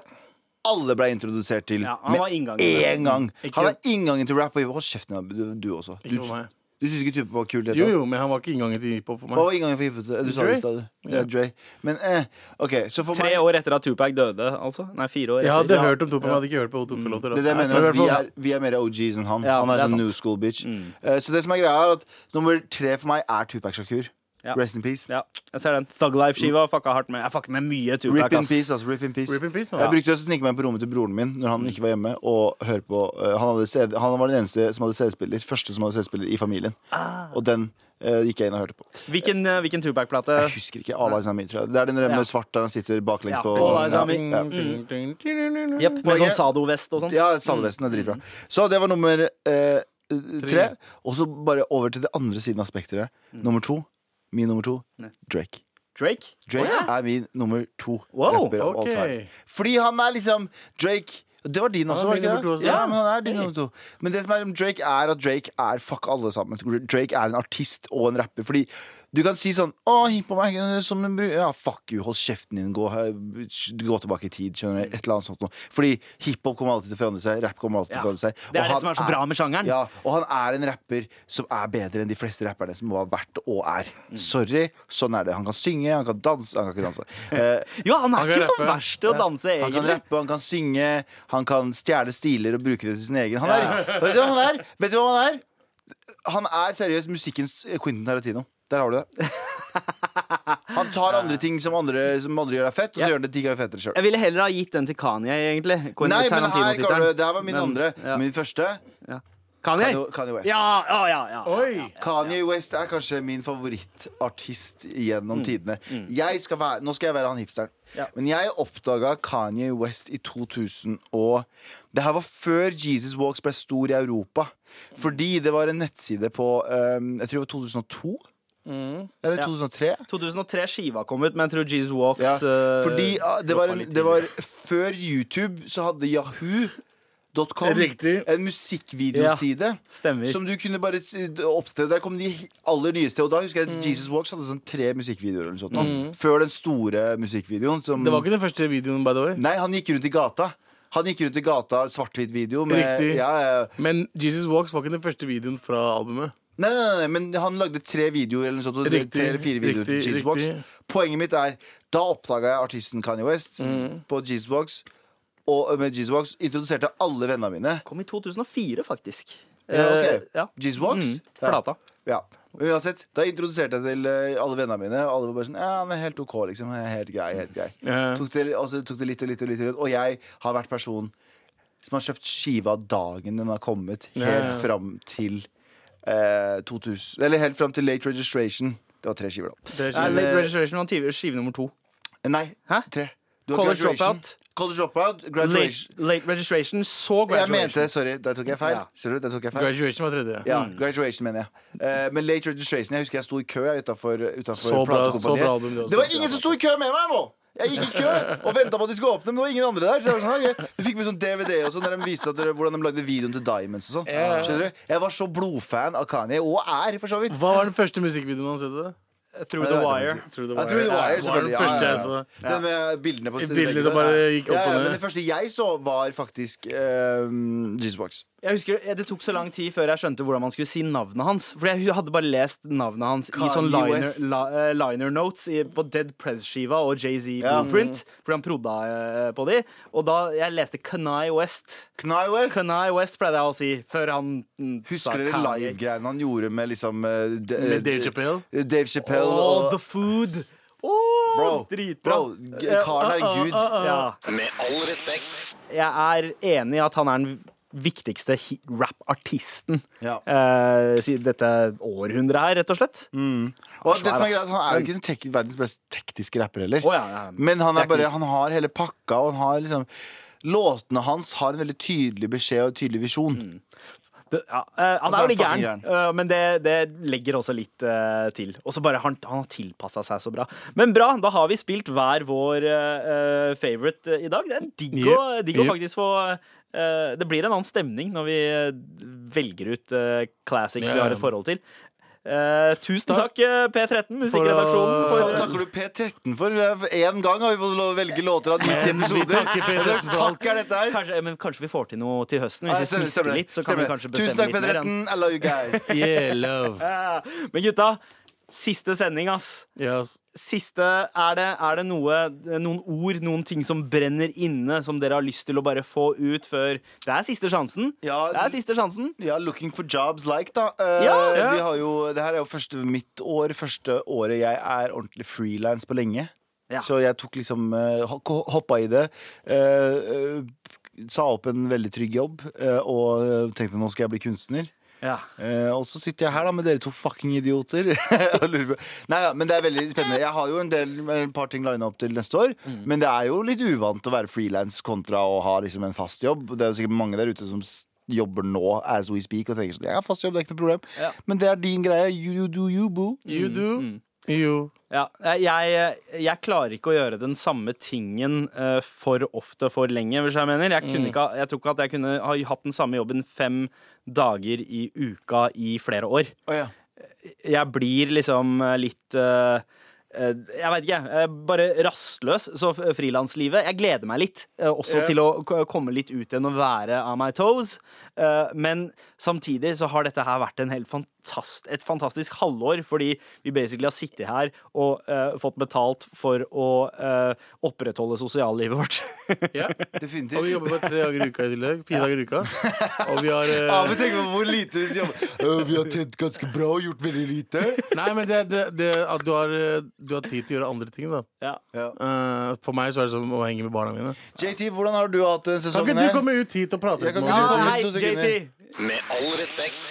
S2: alle ble introdusert til
S3: Ja, han var inngangen.
S2: én gang.
S6: Ikke-
S2: Han er inngangen til rap. og Hold kjeften, Abu, du, du også. Du,
S6: Ikke for meg.
S2: du syns ikke Tupac var kul? i det hele
S6: Jo,
S2: tatt?
S6: jo, men han var ikke inngangen til hiphop for meg.
S2: Hva var inngangen for hiphop? Du sa det
S6: Dre.
S2: i stad, du. Ja, Dre. Men eh, OK, så for
S3: Tre
S2: meg
S3: år etter at Tupac døde, altså? Nei, fire år.
S6: Jeg
S3: etter.
S6: hadde hørt om Tupac, men jeg hadde ikke hørt på Tupac-låter.
S2: Mm. det er det jeg mener,
S6: Men i
S2: at
S6: hvert
S2: vi
S6: fall-
S2: er, vi er mer OGs enn han.
S3: Ja,
S2: han er,
S3: det er
S2: sånn
S3: sant. Mm.
S2: new school bitch. Eh, så det som er greia, er at nummer tre for meg er Tupac Shakur.
S3: Ja.
S2: Rest in peace.
S3: Ja, jeg ser den. Thug Life-skiva fucka hardt med. Jeg fucker med mye Tupac.
S2: Mm. Rip in
S3: ass.
S2: peace, altså. Rip in peace.
S6: Rip in peace,
S2: Jeg
S6: man.
S2: brukte også å snike meg på rommet til broren min når han ikke var hjemme. Og høre på eh, Han, hadde CD, han var den eneste som hadde CD-spiller Første som hadde CD-spiller i familien.
S3: Ah.
S2: Og den eh, gikk jeg inn og hørte på.
S3: Hvilken, eh, hvilken Tupac-plate?
S2: Jeg husker ikke. All Eyes On Me, tror jeg. Det er den der
S3: Ja.
S2: med svart der han sitter baklengs
S3: Ja,
S2: på.
S3: Mm. All Eyes On Me.
S2: ja, ja.
S3: Jepp, med
S2: Poenget-
S3: sånn Sado-vest og sånn.
S2: Ja, Salvesten er dritbra. Så det var nummer eh, tre. Og så bare over til det andre siden av spekteret. Nummer to. Min nummer to. Drake.
S3: Drake?
S2: Drake er min nummer to
S3: Wow,
S2: rapper of all
S6: ok.
S2: time. Fordi han er liksom Drake det var din også,
S6: var
S2: var
S6: min
S2: det ikke
S6: nummer to
S2: det?
S6: også.
S2: Ja, men han er din nummer to. Men det som er om Drake, er at Drake er fuck alle sammen. Drake er en artist og en rapper. Fordi du kan si sånn Å, hipp på meg som en bru... Ja, fuck you, hold kjeften din, gå, gå tilbake i tid, skjønner du. Et eller annet sånt noe. Fordi hiphop kommer alltid til å forandre seg, rap kommer alltid til
S3: Ja.
S2: å forandre seg.
S3: Det er
S2: Og
S3: det
S2: han
S3: som er så bra med sjangeren.
S2: Ja, og han er en rapper som er bedre enn de fleste rapperne som har vært og er.
S3: Mm.
S2: Sorry, sånn er det. Han kan synge, han kan danse Han kan ikke danse. Eh,
S3: Jo, han er
S6: Han kan
S3: ikke så
S6: rappe.
S3: verst til å danse,
S2: han kan
S3: egentlig.
S2: rappe, han kan synge, han kan stjele stiler og bruke det til sin egen. Han er, vet, du hva han er? vet du hva han er? Han er seriøst musikkens Quentin Tarantino. Der har du det. Han tar andre ting som andre, som andre gjør er fett, og så gjør han det ti ganger fettere sjøl.
S3: Jeg ville heller ha gitt den til Kanye, egentlig. Quentin
S2: Nei, men her,
S3: Tarantino-tittelen.
S2: Karl, det her var min
S3: Men,
S2: andre.
S3: ja.
S2: Min første
S3: Ja. Kanye?
S2: Kanye Kanye West.
S3: Ja, ja, ja, ja. Mm,
S6: Oi!
S2: Kanye West er kanskje min favorittartist gjennom tidene. Jeg skal være, nå skal jeg være han hipsteren.
S3: Ja.
S2: Men jeg oppdaga Kanye West i 2000 og Det her var før Jesus Walks ble stor i Europa. Fordi det var en nettside på um, Jeg tror det var 2002? Eller
S3: Mm. Ja.
S2: 2003?
S3: 2003-skiva kom ut, men jeg tror Jesus Walks
S2: Ja.
S3: eh,
S2: Fordi ah, det,
S3: droppa
S2: var en,
S3: litt
S2: det var før YouTube, så hadde Yahoo
S6: Riktig.
S2: en musikkvideoside
S3: Stemmer.
S2: som du kunne bare s- oppstre. Der kom de hi- aller nyeste. Og da husker jeg at Jesus Walks hadde sånn tre musikkvideoer. Eller sånt, nå. Før den store musikkvideoen. Som,
S6: Mm. Det var ikke den første videoen, by the way.
S2: Nei, han gikk rundt i gata. Han gikk rundt i gata, svart-hvitt video. Med,
S6: Riktig.
S2: Ja, ja.
S6: Men Jesus Walks var ikke den første videoen fra albumet.
S2: Nei, nei, nei, nei, men han lagde tre videoer eller noe sånt. Og
S6: Riktig,
S2: tre eller fire videoer til
S6: riktig,
S2: Jesus Walks.
S6: riktig.
S2: Poenget mitt er da oppdaga jeg artisten Kanye West
S6: Mm.
S2: på Jesus Walks. Og med Jesus Walks introduserte jeg alle vennene mine.
S3: Kom i 2004, faktisk.
S2: Ja, ok.
S3: Eh, ja.
S2: Jesus Walks?
S3: Mm, plata.
S2: Ja. Men uansett, da introduserte jeg til eh, alle vennene mine. Og alle var bare sånn Ja, han er helt OK, liksom. Han er Helt grei. helt grei
S6: Ja.
S2: tok det, Og så tok det litt og litt og litt. og litt, Og jeg har vært person som har kjøpt skiva dagen den har kommet, helt
S6: ja.
S2: fram til eh, 2000 Eller helt fram til late registration. Det var tre skiver, da. Eh,
S6: Det er
S3: Nei,
S6: ikke-
S3: Eh, Late Registration var tiv- skive nummer to.
S2: Nei,
S3: Hæ?
S2: tre. Du har
S3: College
S2: graduation.
S3: dropout.
S2: College dropout.
S3: Late,
S2: Graduation.
S3: late Registration, så
S2: Jeg
S3: Graduation.
S2: mente Sorry, der tok jeg feil.
S3: Ja.
S2: Ser du, der tok jeg feil.
S6: Graduation var tredje.
S2: Ja, graduation mener jeg. Eh, men late registration, jeg husker jeg sto i kø jeg, utenfor, utenfor
S6: Så bra-
S2: platekompaniet.
S6: så bra album det også.
S2: Det var ingen som sto i kø med meg, nå! Jeg gikk i kø og venta på at de skulle åpne, men det var ingen andre der. Så jeg var sånn, «Ok». Du fikk med sånn DVD og sånn, der de viste at dere, hvordan de lagde videoen til Diamonds og sånn. Skjønner du? Jeg var så blodfan av Kanye, og er, for så vidt.
S6: Hva var den første musikkvideoen hans? heter det?
S3: Through the
S2: Ja, det er
S3: Wire.
S2: det
S6: Through the
S2: Jeg tror det
S6: Ja,
S2: var jeg,
S6: var den
S2: selvfølgelig. Ja, ja,
S6: første jeg så.
S2: ja. Den med bildene på
S6: Bildene
S2: veggen der.
S6: bare gikk opp
S2: ja,
S6: og
S2: ja,
S6: ned.
S2: Men det første jeg så, var faktisk uh, Jesus
S3: Jeg husker eh, Det det tok så lang tid før jeg skjønte hvordan man skulle si navnet hans. For jeg hadde bare lest navnet hans i
S2: Kanye
S3: sånn liner,
S2: West.
S3: la, eh, liner notes i, på Dead Prez-skiva og Jay-Z
S2: Ja. Mm.
S3: Blueprint. Fordi han prodda eh, på de. Og da jeg leste Kanai West
S2: Kanye West.
S3: Kanai West pleide jeg å si før han mm,
S2: Husker dere
S3: Kanye.
S2: live-greiene han gjorde med liksom eh, de-
S6: Med Dave Chappelle?
S2: Dave Chappelle
S3: All
S2: og
S3: the food! Åh,
S2: Bro,
S3: dritbra. Eh, uh,
S2: bro g- karen er en gud.
S3: Ja.
S5: Med all respekt.
S3: Jeg er enig i at han er den viktigste hi- rap-artisten
S2: Ja.
S3: eh, si- dette århundret her, rett og slett. Å
S2: Og det som er greit, han er jo ikke den tek verdens best tekniske rapper heller.
S3: ja, ja.
S2: Men han, er
S3: Det er
S2: bare,
S3: ikke-
S2: han har hele pakka, og han har liksom Låtene hans har en veldig tydelig beskjed og en tydelig visjon.
S3: Mm. Det, ja, eh, han
S2: Altså,
S3: er jo litt
S2: han er
S3: gæren, eh, men det, det legger også litt eh, til. Og så bare han, han har tilpassa seg så bra. Men bra, da har vi spilt hver vår eh, eh, favorite eh, i dag. Det er digg å
S6: Yep,
S3: digg å
S6: yep.
S3: faktisk få eh, Det blir en annen stemning når vi eh, velger ut eh, classics vi
S6: Ja.
S3: har et forhold til. Eh, tusen takk, eh, P13, musikkredaksjonen.
S6: For
S2: Faen,
S6: å-
S2: takker du P13 for én gang har vi fått lov å velge låter
S3: Eh,
S2: av 90 episoder.
S6: takker P13
S2: Hva slags
S6: for alt.
S2: takk er dette her?
S3: Kanskje, eh, men kanskje vi får til noe til høsten. Hvis
S2: Nei,
S3: vi
S2: stemmer,
S3: smisker
S2: stemmer.
S3: litt, så kan vi
S2: Stemmer.
S3: kanskje
S2: Tusen takk,
S3: bestemme litt mer. enn-
S2: P13. I love you guys.
S6: Yeah, love.
S3: Men gutta, siste sending, ass.
S6: Yes.
S3: Siste, er det, er det noe, noen ord, noen ting som brenner inne, som dere har lyst til å bare få ut før Det er siste sjansen.
S2: Ja,
S3: det er siste sjansen.
S2: Ja, Looking for jobs like, da. Eh,
S3: Ja,
S6: ja.
S2: Vi har jo, det her er jo første mitt år, første året jeg er ordentlig frilans på lenge.
S3: Ja.
S2: Så jeg tok liksom eh, hok- hoppa i det. eh, eh, sa opp en veldig trygg jobb eh, og tenkte nå skal jeg bli kunstner.
S3: Ja.
S2: Eh, og så sitter jeg her da med dere to fucking idioter. og lurer på. Nei, ja, men det er veldig spennende. Jeg har jo en del et par ting lina opp til neste år. Men det er jo litt uvant å være frilans kontra å ha liksom en fast jobb. Det er jo sikkert mange der ute som s- jobber nå as we speak og tenker sånn Jeg har fast jobb, det er ikke noe problem.
S3: Ja.
S2: Men det er din greie. You, you do you, boo.
S6: You do. You.
S3: Ja, jeg, jeg klarer ikke å gjøre den samme tingen eh, for ofte for lenge, hvis jeg mener. Jeg, kunne ikke, ha- jeg tror ikke at jeg kunne ha hatt den samme jobben fem dager i uka i flere år. jeg blir liksom eh, litt eh, eh, jeg veit ikke. jeg er Bare rastløs. Så f- frilanslivet Jeg gleder meg litt. eh, Også
S6: Ja.
S3: til å k- komme litt ut igjen og være on my toes. Eh, Men samtidig så har dette her vært en helt fantast, et fantastisk halvår, fordi vi basically har sittet her og eh, fått betalt for å eh, opprettholde sosiallivet vårt.
S6: Ja.
S2: Definitivt.
S6: Og vi jobber bare tre dager i uka i tillegg. Fire dager i uka. Og vi har eh,
S2: Ja, men tenk på hvor lite vi jobber. Eh, vi har tjent ganske bra og gjort veldig lite.
S6: Nei, men det, det, det at du har, eh, du har tid til å gjøre andre ting, da.
S3: ja.
S6: Eh, for meg så er det som å henge med barna mine.
S2: JT, hvordan har du hatt denne
S6: Kan
S2: sesongen?
S6: ikke
S2: her?
S6: du komme ut hit og prate
S2: Jeg kan
S6: litt med
S2: ikke
S6: oss?
S2: komme-
S3: Hei,
S2: to sekunder.
S3: JT!
S5: Med all respekt.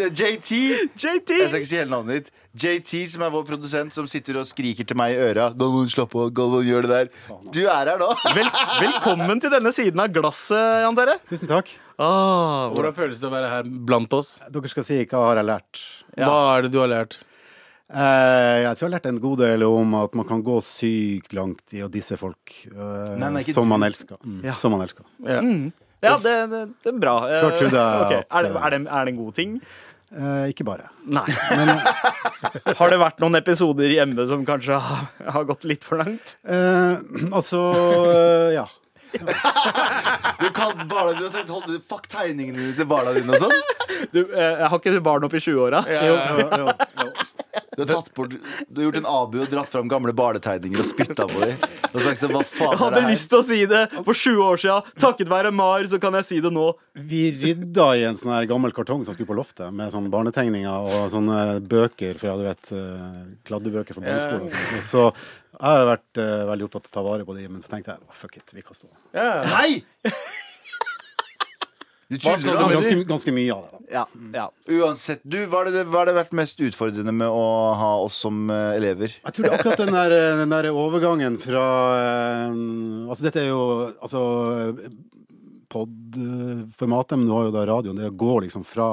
S2: JT!
S3: JT!
S2: Jeg skal ikke si hele navnet ditt. JT, som er vår produsent, som sitter og skriker til meg i øra. Galvan, slapp av. Galvan, gjør det der. Du er her nå.
S3: Vel, velkommen til denne siden av glasset, Jan Terje.
S8: Tusen takk.
S3: Ah,
S6: Hvordan føles det å være her blant oss?
S8: Dere skal si hva har jeg lært.
S6: Hva er det du har lært?
S8: Eh, jeg tror jeg har lært en god del om at man kan gå sykt langt i å disse folk eh,
S2: Nei, nei, ikke
S8: som
S2: du.
S8: man elsker. Mm. Som man elsker.
S6: Ja.
S3: Ja, det, det, det er bra. Eh,
S8: Før trodde jeg
S3: ok.
S8: at-
S3: er, det, er, det, er det en god ting?
S8: Eh, ikke bare.
S3: Nei. har det vært noen episoder hjemme som kanskje har, har gått litt for langt?
S8: Eh, altså, eh, ja.
S2: Du kan barna dine og sagt hold, Fuck tegningene dine til barna dine og sånn.
S3: Du, eh, har ikke du barn opp i 20-åra?
S8: Jo, jo, jo, jo.
S2: Du har, tatt bort, du har gjort en abu og dratt fram gamle barnetegninger og spytta på dem. Og sagt sånn, hva faen er
S3: Jeg
S2: det
S3: hadde
S2: her?
S3: lyst til å si det for 20 år siden. Takket være Mar, så kan jeg si det nå.
S8: Vi rydda i en sånn her gammel kartong som skulle på loftet, med sånne barnetegninger og sånne bøker fra du vet, eh, kladdebøker fra barneskolen. og sånt. Og Så jeg har vært eh, veldig opptatt av å ta vare på de, men så tenkte jeg «Å, fuck it, vi kaster dem.
S6: Ja.
S2: Nei! Du
S6: Hva
S2: tuller
S6: skal
S2: da.
S6: du med
S8: Ganske,
S6: de?
S8: ganske mye av det. da.
S3: Ja, ja.
S2: Uansett, du, hva har det, hva har det vært mest utfordrende med å ha oss som eh, elever?
S8: Jeg tror det er akkurat den der, eh, den der overgangen fra eh, Altså, dette er jo altså, pod-formatet, men du har jo da radioen. Det å gå liksom fra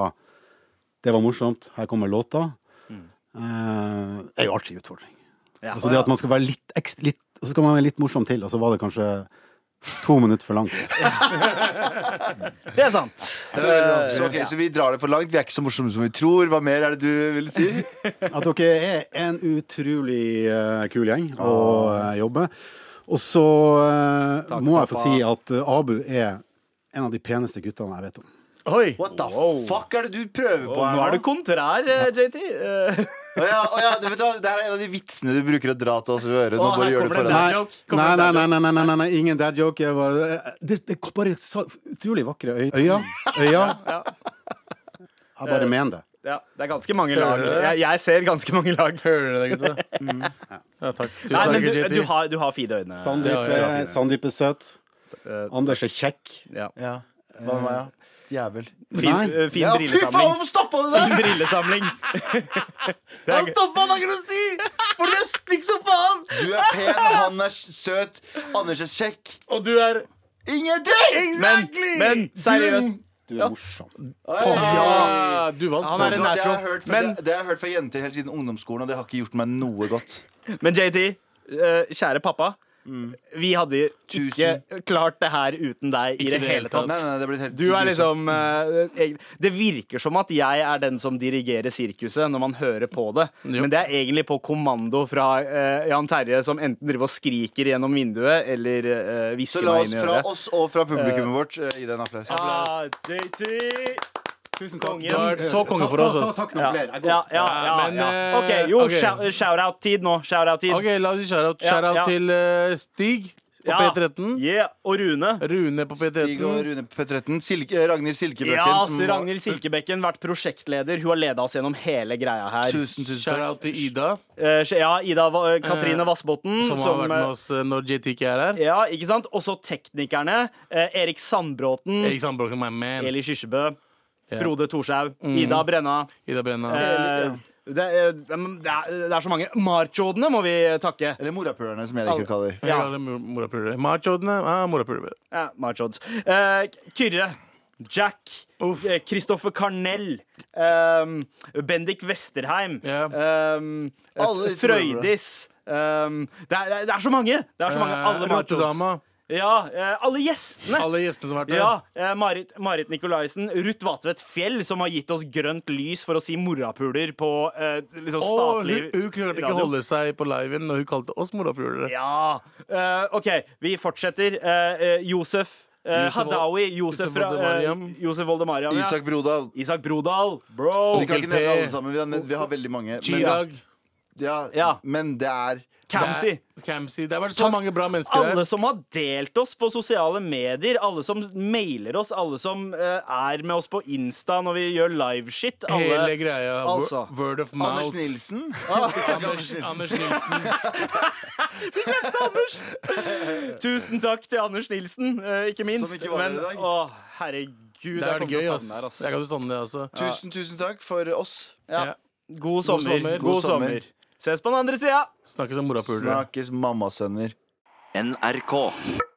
S8: Det var morsomt, her kommer låta, eh, er jo alltid en utfordring.
S3: Ja.
S8: Altså det at man skal være litt ekstra litt, Og så skal man være litt morsom til, og så var det kanskje to minutter for langt.
S3: Det er sant.
S2: Så, så, ok, så vi drar det for langt. Vi er ikke så morsomme som vi tror. Hva mer er det du vil si?
S8: At dere er en utrolig eh, kul gjeng å eh, jobbe. Og så eh,
S3: Takk,
S8: må jeg få
S3: pappa.
S8: si at eh, Abu er en av de peneste guttene jeg vet om.
S6: Oi!
S2: What the fuck er det du prøver på
S3: Nå
S2: her
S3: er du kontrær, eh, JT. Eh,
S2: Å ja, å ja, det, vet du, hva, det her er en av de vitsene du bruker å dra til oss i øret. Nå
S3: Å,
S2: bare
S3: her
S2: gjør
S3: kommer
S2: det
S3: det
S2: for deg.
S3: der.
S8: Nei,
S3: joke? Kommer
S8: nei,
S3: det
S8: nei,
S3: en
S8: nei, nei, nei, nei, nei ingen dad joke. Jeg bare, eh, det, det kom bare så utrolig vakre øy- øyne. Øya.
S3: ja.
S8: Jeg bare mener det.
S3: ja, det er ganske mange lag.
S6: Hører du det?
S3: Jeg, jeg ser ganske mange lag.
S6: Hører dere det, gutta? Ja, takk. Tusen
S3: Mm. Nei, men
S6: takk,
S3: du,
S6: JT.
S3: du, har, du har fine øyne.
S8: Sandeep
S6: Ja, ja, ja.
S8: er- Sandeep er søt.
S3: Eh,
S8: Anders er kjekk.
S3: ja.
S2: Ja. Hva med meg, da? Jævel.
S3: Fin,
S8: Nei.
S3: eh, fin
S2: Ja, fy faen,
S3: brillesamling.
S2: hvorfor stoppa du der?
S3: Fin brillesamling. Det er gøy.
S6: Stoppa, hva kan du si?! For du er stygg som faen!
S2: Du er pen, han er søt, Anders er kjekk.
S6: Og du er
S2: Ingenting!
S3: Men, men seriøst,
S8: Du er morsom.
S6: Ja, du vant.
S3: Han er
S2: Det,
S3: en
S2: det, har jeg
S3: nærtråd.
S2: hørt fra,
S3: Men-
S2: det, det har jeg hørt fra jenter helt siden ungdomsskolen, og det har ikke gjort meg noe godt.
S3: men JT, eh, kjære pappa. Vi hadde
S2: Tusen.
S3: ikke klart det her uten deg i det hele
S2: Nei,
S3: tatt.
S2: nei, det er blitt helt
S3: Du er liksom eh, egen- Det virker som at jeg er den som dirigerer sirkuset når man hører på det.
S6: Jo.
S3: Men det er egentlig på kommando fra eh, Jan Terje, som enten driver og skriker gjennom vinduet, eller
S2: Så
S3: eh, hvisker
S2: la
S3: meg
S2: oss
S3: inn i
S2: fra
S3: øret.
S2: oss og fra publikummet vårt eh, gi deg en applaus.
S3: Ah, JT!
S8: Tusen
S3: takk. Kongen.
S6: Du har vært så konge for oss,
S8: Ta, ta,
S6: ass.
S8: ta, takk noen flere. Jeg går.
S3: Ja, ja, ja,
S6: men,
S3: ja.
S6: eh,
S3: OK, jo,
S6: ok.
S3: shou- shout-out-tid nå. Shout-out-tid.
S6: OK, la oss gi shout-out
S3: Ja,
S6: Shout-out
S3: ja.
S6: til eh, Stig på
S3: Ja.
S6: P13.
S3: Yeah. Og Rune.
S6: Rune på
S2: Stig og
S6: P13.
S2: Rune P13. Silke, eh, Ragnhild Silkebrøken.
S3: Ja,
S2: som
S3: så
S2: var-
S3: Ragnhild Silkebekken, vært prosjektleder. Hun har leda oss gjennom hele greia her.
S2: Tusen, tusen takk.
S6: Shout-out til Ida,
S3: Eh, ja, Ida Va Katrine Vassbotn.
S6: Eh, som har vært med oss eh, når JT ikke er her.
S3: Ja, ikke sant? Også teknikerne. Eh, Erik Sandbråten.
S6: Erik Sandbroken, my man.
S3: Eli Kyrkjebø.
S6: Ja. Mm.
S3: Frode Thorshaug. Ida Brenna.
S6: Ida Brenna.
S3: Eh, det, er, det, er, det er så mange. Marchodene må vi takke.
S2: Eller morapulerne, som jeg liker å kalle dem.
S6: Jeg kaller dem morapulere. Machodene er morapulere.
S3: Ja, Marchods. Eh, Kyrre. Jack.
S6: Uff.
S3: eh, Kristoffer Karnell. ehm, Bendik Westerheim.
S6: Ja.
S3: ehm,
S2: Alle disse
S3: Frøydis. ehm, det, er, det er så mange! Det er så mange,
S6: Eh,
S3: Alle Marchods.
S6: Rotedama.
S3: Ja, eh, alle gjestene!
S6: Alle gjestene som har vært der.
S3: Ja, eh, Marit, Marit Nikolaisen, Ruth Vatvedt Fjell, som har gitt oss grønt lys for å si morapuler på eh, liksom
S6: Og
S3: statlig
S6: hun, hun klarte ikke å holde seg på liven når hun kalte oss morapulere.
S3: Ja. Eh, OK, vi fortsetter. Eh, eh, Josef eh,
S6: Josef Vol-
S3: Hadaoui. Josef,
S6: Josef
S3: fra- eh,
S6: Voldemariam.
S3: Josef Voldemariam. Ja.
S2: Isak Brodal.
S3: Isak Brodal. Bro!
S2: Vi kan ikke
S6: Onkel P.
S2: nevne alle sammen. Vi har, vi har veldig mange. Men,
S6: Chirag,
S2: ja,
S3: Ja.
S2: men det er
S3: Kamzy.
S6: Nei, Kamsi. Det har vært så mange bra mennesker
S3: Alle som har delt oss på sosiale medier, alle som mailer oss, alle som eh, er med oss på Insta når vi gjør liveshit.
S6: her. Hele
S3: Alle
S6: greia.
S3: Altså.
S6: Word- Word of mouth.
S2: Anders Nilsen.
S6: Ah. Anders, Anders Nilsen.
S3: Tusen takk til Anders Nilsen, eh, ikke
S2: Som
S3: minst.
S2: ikke var her i dag.
S3: å, herregud,
S6: Det
S3: jeg
S6: er
S3: kommer til
S6: gøy,
S3: å
S6: ass.
S3: savne her, ass.
S6: Jeg kan jo savne det også.
S2: Tusen, tusen takk for oss.
S3: Ja.
S6: Ja.
S3: God sommer. God
S6: sommer.
S3: sommer.
S2: God sommer.
S3: Ses på den andre sida.
S6: Snakkes om morapulere.
S2: Snakkes mammasønner.
S5: NRK.